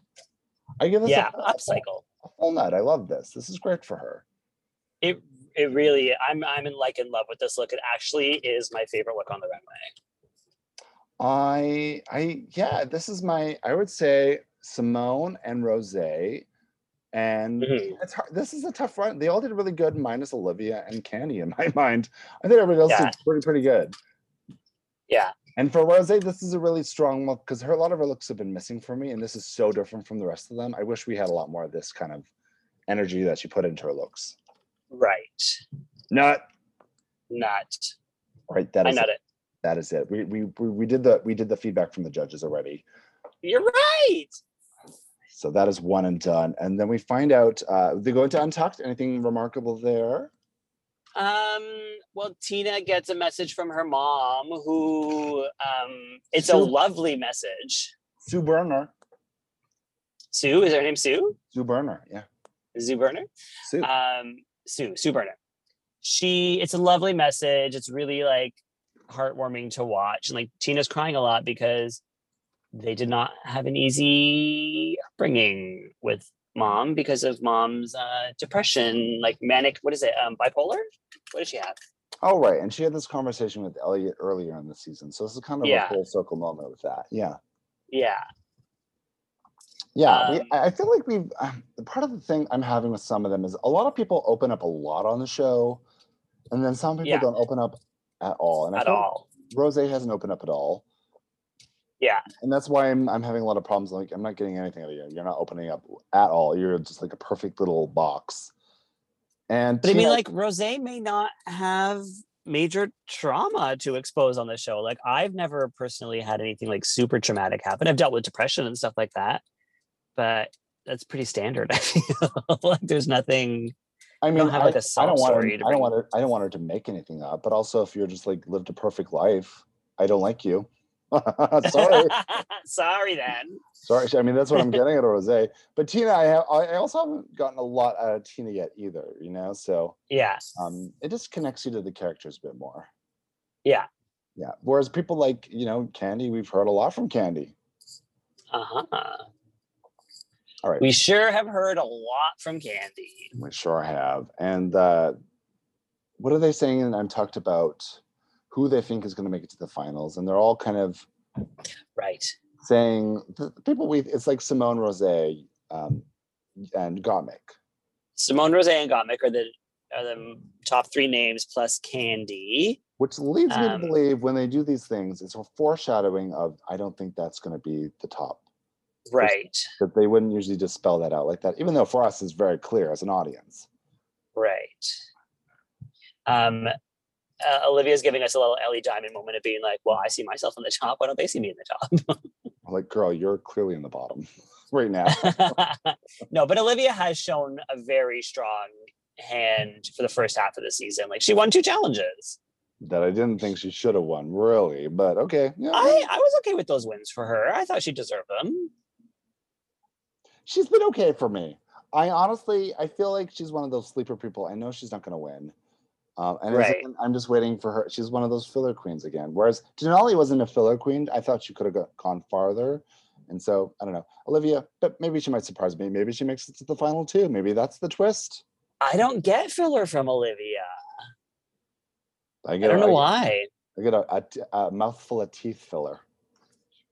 S1: I give this
S2: Yeah.
S1: a, a
S2: Upcycle.
S1: full nut. I love this. This is great for her.
S2: It it really I'm I'm in like in love with this look. It actually is my favorite look on the runway.
S1: I I yeah, this is my I would say Simone and Rose and
S2: Mhm.
S1: it's hard. This is a tough run. They all did really good, minus Olivia and Candy in my mind. I think everybody else
S2: Yeah.
S1: did pretty pretty good.
S2: Yeah.
S1: And for Rose, this is a really strong look because her a lot of her looks have been missing for me, and this is so different from the rest of them. I wish we had a lot more of this kind of energy that she put into her looks.
S2: Right.
S1: Not
S2: Not.
S1: right. That
S2: I
S1: is
S2: not
S1: it.
S2: it.
S1: that is it. We, we we we did the we did the feedback from the judges already.
S2: You're right.
S1: So that is one and done. And then we find out uh, they go into Untucked. Anything remarkable there?
S2: Um well Tina gets a message from her mom who um it's a
S1: Sue.
S2: lovely message.
S1: Sue Burner.
S2: Sue, is her name Sue?
S1: Sue Burner. Yeah.
S2: Sue Burner?
S1: Sue.
S2: um, Sue, Sue Burner. She, it's a lovely message. It's really like heartwarming to watch. And like Tina's crying a lot because they did not have an easy upbringing with mom because of mom's uh, depression, like manic, what is it, um, bipolar? What does she have?
S1: oh, right. And she had this conversation with Elliot earlier in the season. So this is kind of
S2: Yeah.
S1: a full circle moment with that. Yeah.
S2: Yeah.
S1: Yeah. we,
S2: Um,
S1: I I feel like we've, um, part of the thing I'm having with some of them is a lot of people open up a lot on the show, and then some people
S2: Yeah.
S1: don't open up at all. And I
S2: At
S1: feel
S2: all.
S1: Rose hasn't opened up at all.
S2: Yeah.
S1: And that's why I'm I'm having a lot of problems. Like I'm not getting anything out of you. You're not opening up at all. You're just like a perfect little box. And
S2: But I mean,
S1: Tina-
S2: like Rose may not have major trauma to expose on the show. Like I've never personally had anything like super traumatic happen. I've dealt with depression and stuff like that, but that's pretty standard. I feel like there's nothing.
S1: I mean,
S2: don't have, like,
S1: I-
S2: a
S1: I
S2: sob
S1: don't want her,
S2: story to
S1: I don't
S2: bring-
S1: want her, I don't want her to make anything up. But also, if you're just like lived a perfect life, I don't like you. sorry,
S2: Sorry then.
S1: sorry. I mean, that's what I'm getting at, Rose. But Tina, I have, I I also haven't gotten a lot out of Tina yet either. You know, so
S2: Yeah.
S1: um, it just connects you to the characters a bit more.
S2: Yeah.
S1: Yeah. Whereas people like you know Candy, we've heard a lot from Candy.
S2: Uh-huh.
S1: All right.
S2: We sure have heard a lot from Candy.
S1: We sure have. And uh, what are they saying? And I'm talked about who they think is going to make it to the finals, and they're all kind of
S2: Right.
S1: saying the people we. It's like Simone Rose um, and Gomick.
S2: Simone Rose and Gottmik are the are the top three names plus Candy.
S1: Which leads me to
S2: Um,
S1: believe when they do these things, it's a foreshadowing of I don't think that's going to be the top.
S2: Right.
S1: That they wouldn't usually just spell that out like that, even though for us it's very clear as an audience.
S2: Right. Um, uh, Olivia's giving us a little Ellie Diamond moment of being like, "Well, I see myself in the top. Why don't they see me in the
S1: Like, girl, you're clearly in the bottom right now.
S2: top?" no, but Olivia has shown a very strong hand for the first half of the season. Like she won two challenges.
S1: that I didn't think she should have won, really. But okay, yeah,
S2: I, I was okay with those wins for her. I thought she deserved them.
S1: she's been okay for me. I honestly, I feel like she's one of those sleeper people. I know she's not going to win, um, and it's-
S2: Right.
S1: I'm just waiting for her. She's one of those filler queens again. Whereas Denali wasn't a filler queen. I thought she could have gone farther, and so I don't know, Olivia. But maybe she might surprise me. Maybe she makes it to the final two. Maybe that's the twist.
S2: I don't get filler from Olivia.
S1: I
S2: I
S1: get.
S2: don't
S1: a-
S2: know
S1: I-
S2: why.
S1: I get a, a t- a mouthful of teeth filler.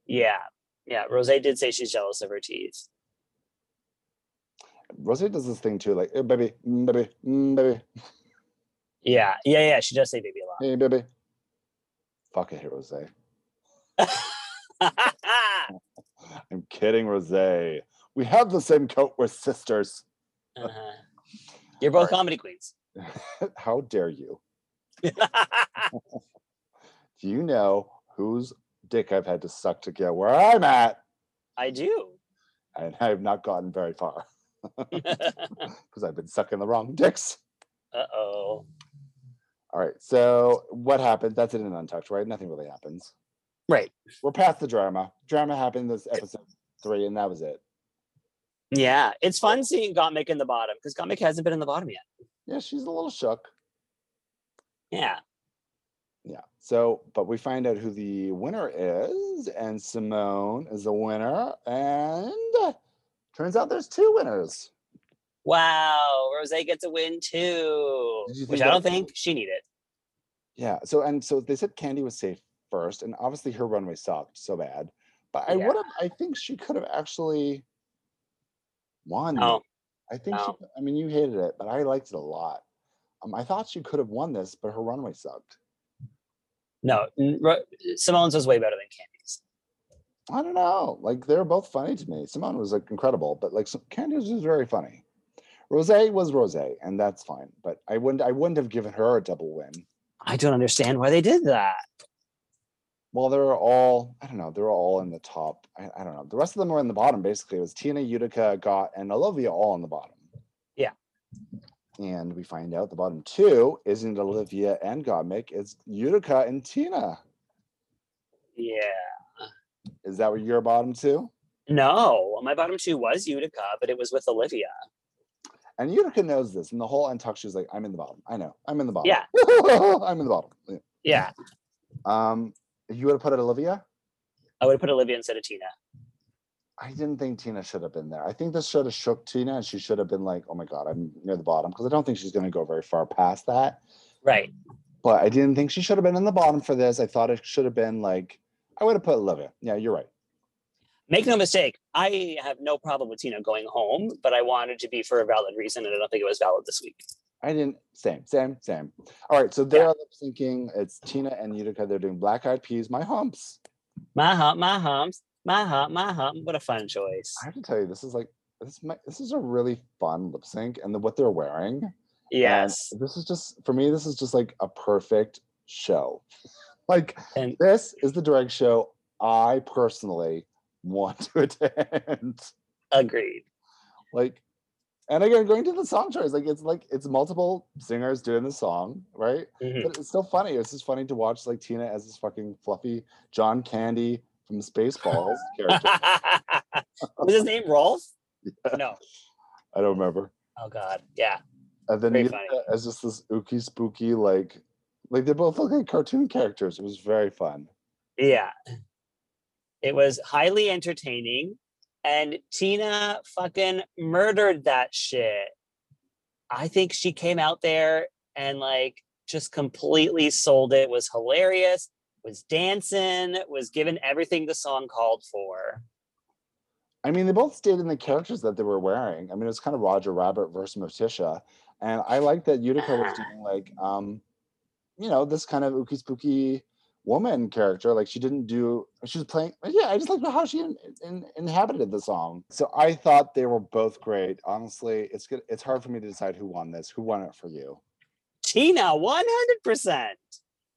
S2: Yeah. Yeah. Rose did say she's jealous of her teeth.
S1: Rosie does this thing too, like "Eh, baby, mm, baby, mm, baby,
S2: Yeah. Yeah. Yeah. She does say baby a lot.
S1: hey baby. Fuck it, Rosie.
S2: uh-huh.
S1: I'm kidding, Rosé. We have the same coat. We're sisters. Uh-huh.
S2: You're both
S1: Alright.
S2: comedy queens.
S1: How dare you? Do you know whose dick I've had to suck to get where I'm at?
S2: I do.
S1: And I have not gotten very far because I've been sucking the wrong dicks.
S2: uh oh.
S1: All right. So what happened? That's it in Untucked, right? Nothing really happens.
S2: Right.
S1: We're past the drama. Drama happened this episode three, and that was it.
S2: Yeah. It's fun seeing Gottmik in the bottom because Gottmik hasn't been in the bottom yet.
S1: Yeah, she's a little shook.
S2: Yeah.
S1: Yeah. So, but we find out who the winner is, and Simone is the winner, and uh, turns out there's two winners.
S2: Wow. Rose gets a win too,
S1: Did you
S2: which
S1: think
S2: I
S1: that-
S2: don't think she needed.
S1: Yeah. So, and so they said Candy was safe first, and obviously her runway sucked so bad. But I
S2: Yeah.
S1: would have, I think she could have actually won.
S2: Oh,
S1: I think she,
S2: no.
S1: I mean, you hated it, but I liked it a lot. Um, I thought she could have won this, but her runway sucked.
S2: no. n- Ro- Simone's was way better than Candy's.
S1: I don't know. Like they're both funny to me. Simone was like incredible, but like so- Candy was just very funny. Rose was Rose, and that's fine. But I wouldn't I wouldn't have given her a double win.
S2: I don't understand why they did that.
S1: Well, they're all I don't know, they're all in the top. I, I don't know. The rest of them were in the bottom basically. It was Tina, Utica, Got, and Olivia all in the bottom.
S2: Yeah.
S1: And we find out the bottom two isn't Olivia and Gottmik, it's Utica and Tina.
S2: Yeah.
S1: Is that what your bottom two?
S2: No, my bottom two was Utica, but it was with Olivia.
S1: And Utica knows this. And the whole untucked, she's like, I'm in the bottom. I know. I'm in the bottom.
S2: Yeah.
S1: I'm in the bottom. Yeah.
S2: Yeah,
S1: Um, you would have put it Olivia?
S2: I would have put Olivia instead of Tina.
S1: I didn't think Tina should have been there. I think this should have shook Tina and she should have been like, oh my God, I'm near the bottom. Because I don't think she's going to go very far past that.
S2: Right.
S1: But I didn't think she should have been in the bottom for this. I thought it should have been like, I would have put Olivia. Yeah, you're right.
S2: Make no mistake, I have no problem with Tina going home, but I wanted to be for a valid reason, and I don't think it was valid this week.
S1: I didn't. Same, same, same. All right. So they're lip syncing. It's Tina and Utica. They're doing Black Eyed Peas, My Humps.
S2: My hump, my humps, my hump, my hump. What a fun choice.
S1: I have to tell you, this is like, this, might, this is a really fun lip sync. And the, what they're wearing. And
S2: Mm. Yes.
S1: this is just for me, this is just like a perfect show. Like
S2: And-
S1: this is the drag show I personally want to attend.
S2: Agreed.
S1: Like and again, going to the song choice, like it's like it's multiple singers doing the song, right?
S2: Mhm.
S1: But it's still funny. It's just funny to watch like Tina as this fucking fluffy John Candy from Spaceballs character.
S2: was his name Rolf? No.
S1: I don't remember.
S2: Oh God. Yeah.
S1: And then
S2: Very
S1: Yuka
S2: funny.
S1: as just this ooky spooky, like like they both look like cartoon characters. It was very fun.
S2: Yeah. It was highly entertaining. And Tina fucking murdered that shit. I think she came out there and like just completely sold it, was hilarious, was dancing, was given everything the song called for.
S1: I mean, they both stayed in the characters that they were wearing. I mean, it was kind of Roger Rabbit versus Morticia, and I like that Utica
S2: Ah.
S1: was doing like, um, you know, this kind of ooky spooky woman character. Like she didn't do, she was playing. Yeah, I just like how she in, in, inhabited the song. So I thought they were both great. Honestly, it's good. It's hard for me to decide who won this. Who won it for you?
S2: Tina, 100%.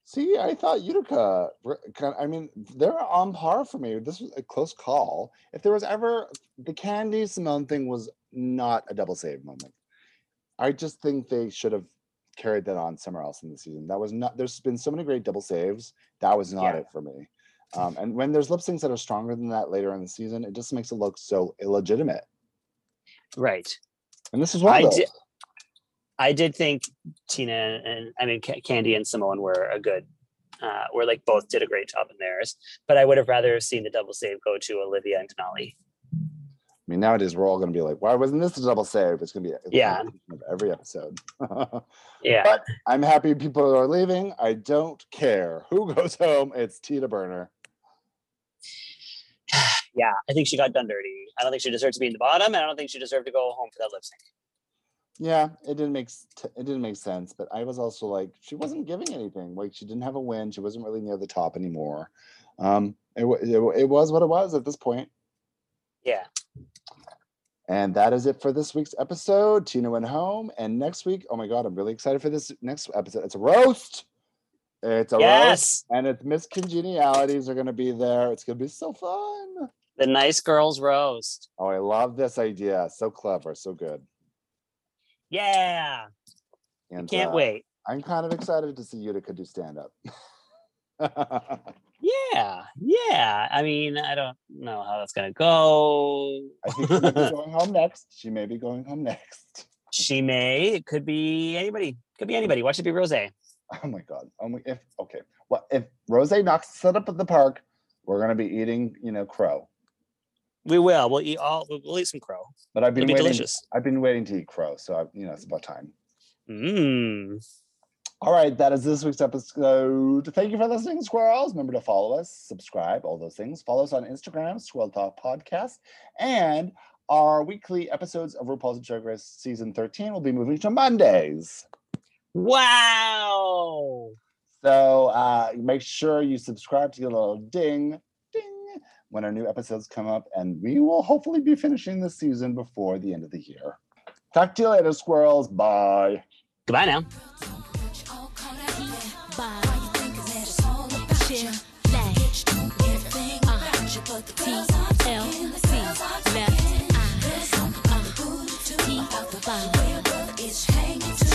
S1: See, I thought Utica. re- kind- I mean, they're on par for me. This was a close call. If there was ever the Candy Simone thing was not a double save moment. I just think they should have carried that on somewhere else in the season. That was not. There's been so many great double saves. That was not
S2: Yeah.
S1: it for me. Um, and when there's lip syncs that are stronger than that later in the season, it just makes it look so illegitimate.
S2: Right.
S1: And this is one.
S2: I
S1: of those.
S2: di- I did think Tina and I mean Ca- Candy and Simone were a good, uh, were like both did a great job in theirs. But I would have rather seen the double save go to Olivia and Denali.
S1: mean, nowadays we're all going to be like, why wasn't this a double save? It's going to be a it's
S2: Yeah.
S1: gonna be a- of every episode.
S2: Yeah.
S1: But I'm happy people are leaving. I don't care who goes home. It's Tita Burner.
S2: Yeah. I think she got done dirty. I don't think she deserved to be in the bottom, and I don't think she deserved to go home for that lip sync.
S1: Yeah, it didn't make s- t- it didn't make sense, but I was also like, she wasn't giving anything. Like she didn't have a win. She wasn't really near the top anymore. Um, it, wa- it, wa- it was what it was at this point.
S2: Yeah.
S1: And that is it for this week's episode. Tina went home. And next week, oh my God, I'm really excited for this next episode. It's a roast. It's a roast.
S2: yes.
S1: And it's Miss Congenialities are going to be there. It's going to be so fun.
S2: The nice girls roast.
S1: Oh, I love this idea. So clever. So good.
S2: Yeah.
S1: And
S2: Can't
S1: uh,
S2: wait.
S1: I'm kind of excited to see Utica do stand up.
S2: Yeah. Yeah. I mean, I don't know how that's gonna go.
S1: I think she may be going home next. She may be going home next.
S2: She may. It could be anybody. Could be anybody. Watch it be Rose.
S1: Oh my god. Oh my, if okay. Well, if Rose knocks it up at the park, we're gonna be eating, you know, crow.
S2: We will. We'll eat all. We'll, we'll eat some crow.
S1: But I've
S2: It'll
S1: been
S2: be
S1: waiting.
S2: delicious.
S1: I've been waiting to eat crow, so I, you know it's about time.
S2: Mmm.
S1: All right, that is this week's episode. Thank you for listening, squirrels. Remember to follow us, subscribe, all those things. Follow us on Instagram, Squirrel Talk Podcast, and our weekly episodes of RuPaul's Drag Race season thirteen will be moving to Mondays.
S2: Wow.
S1: So uh, make sure you subscribe to get a little ding, ding when our new episodes come up, and we will hopefully be finishing this season before the end of the year. Talk to you later, squirrels. Bye.
S2: Goodbye now.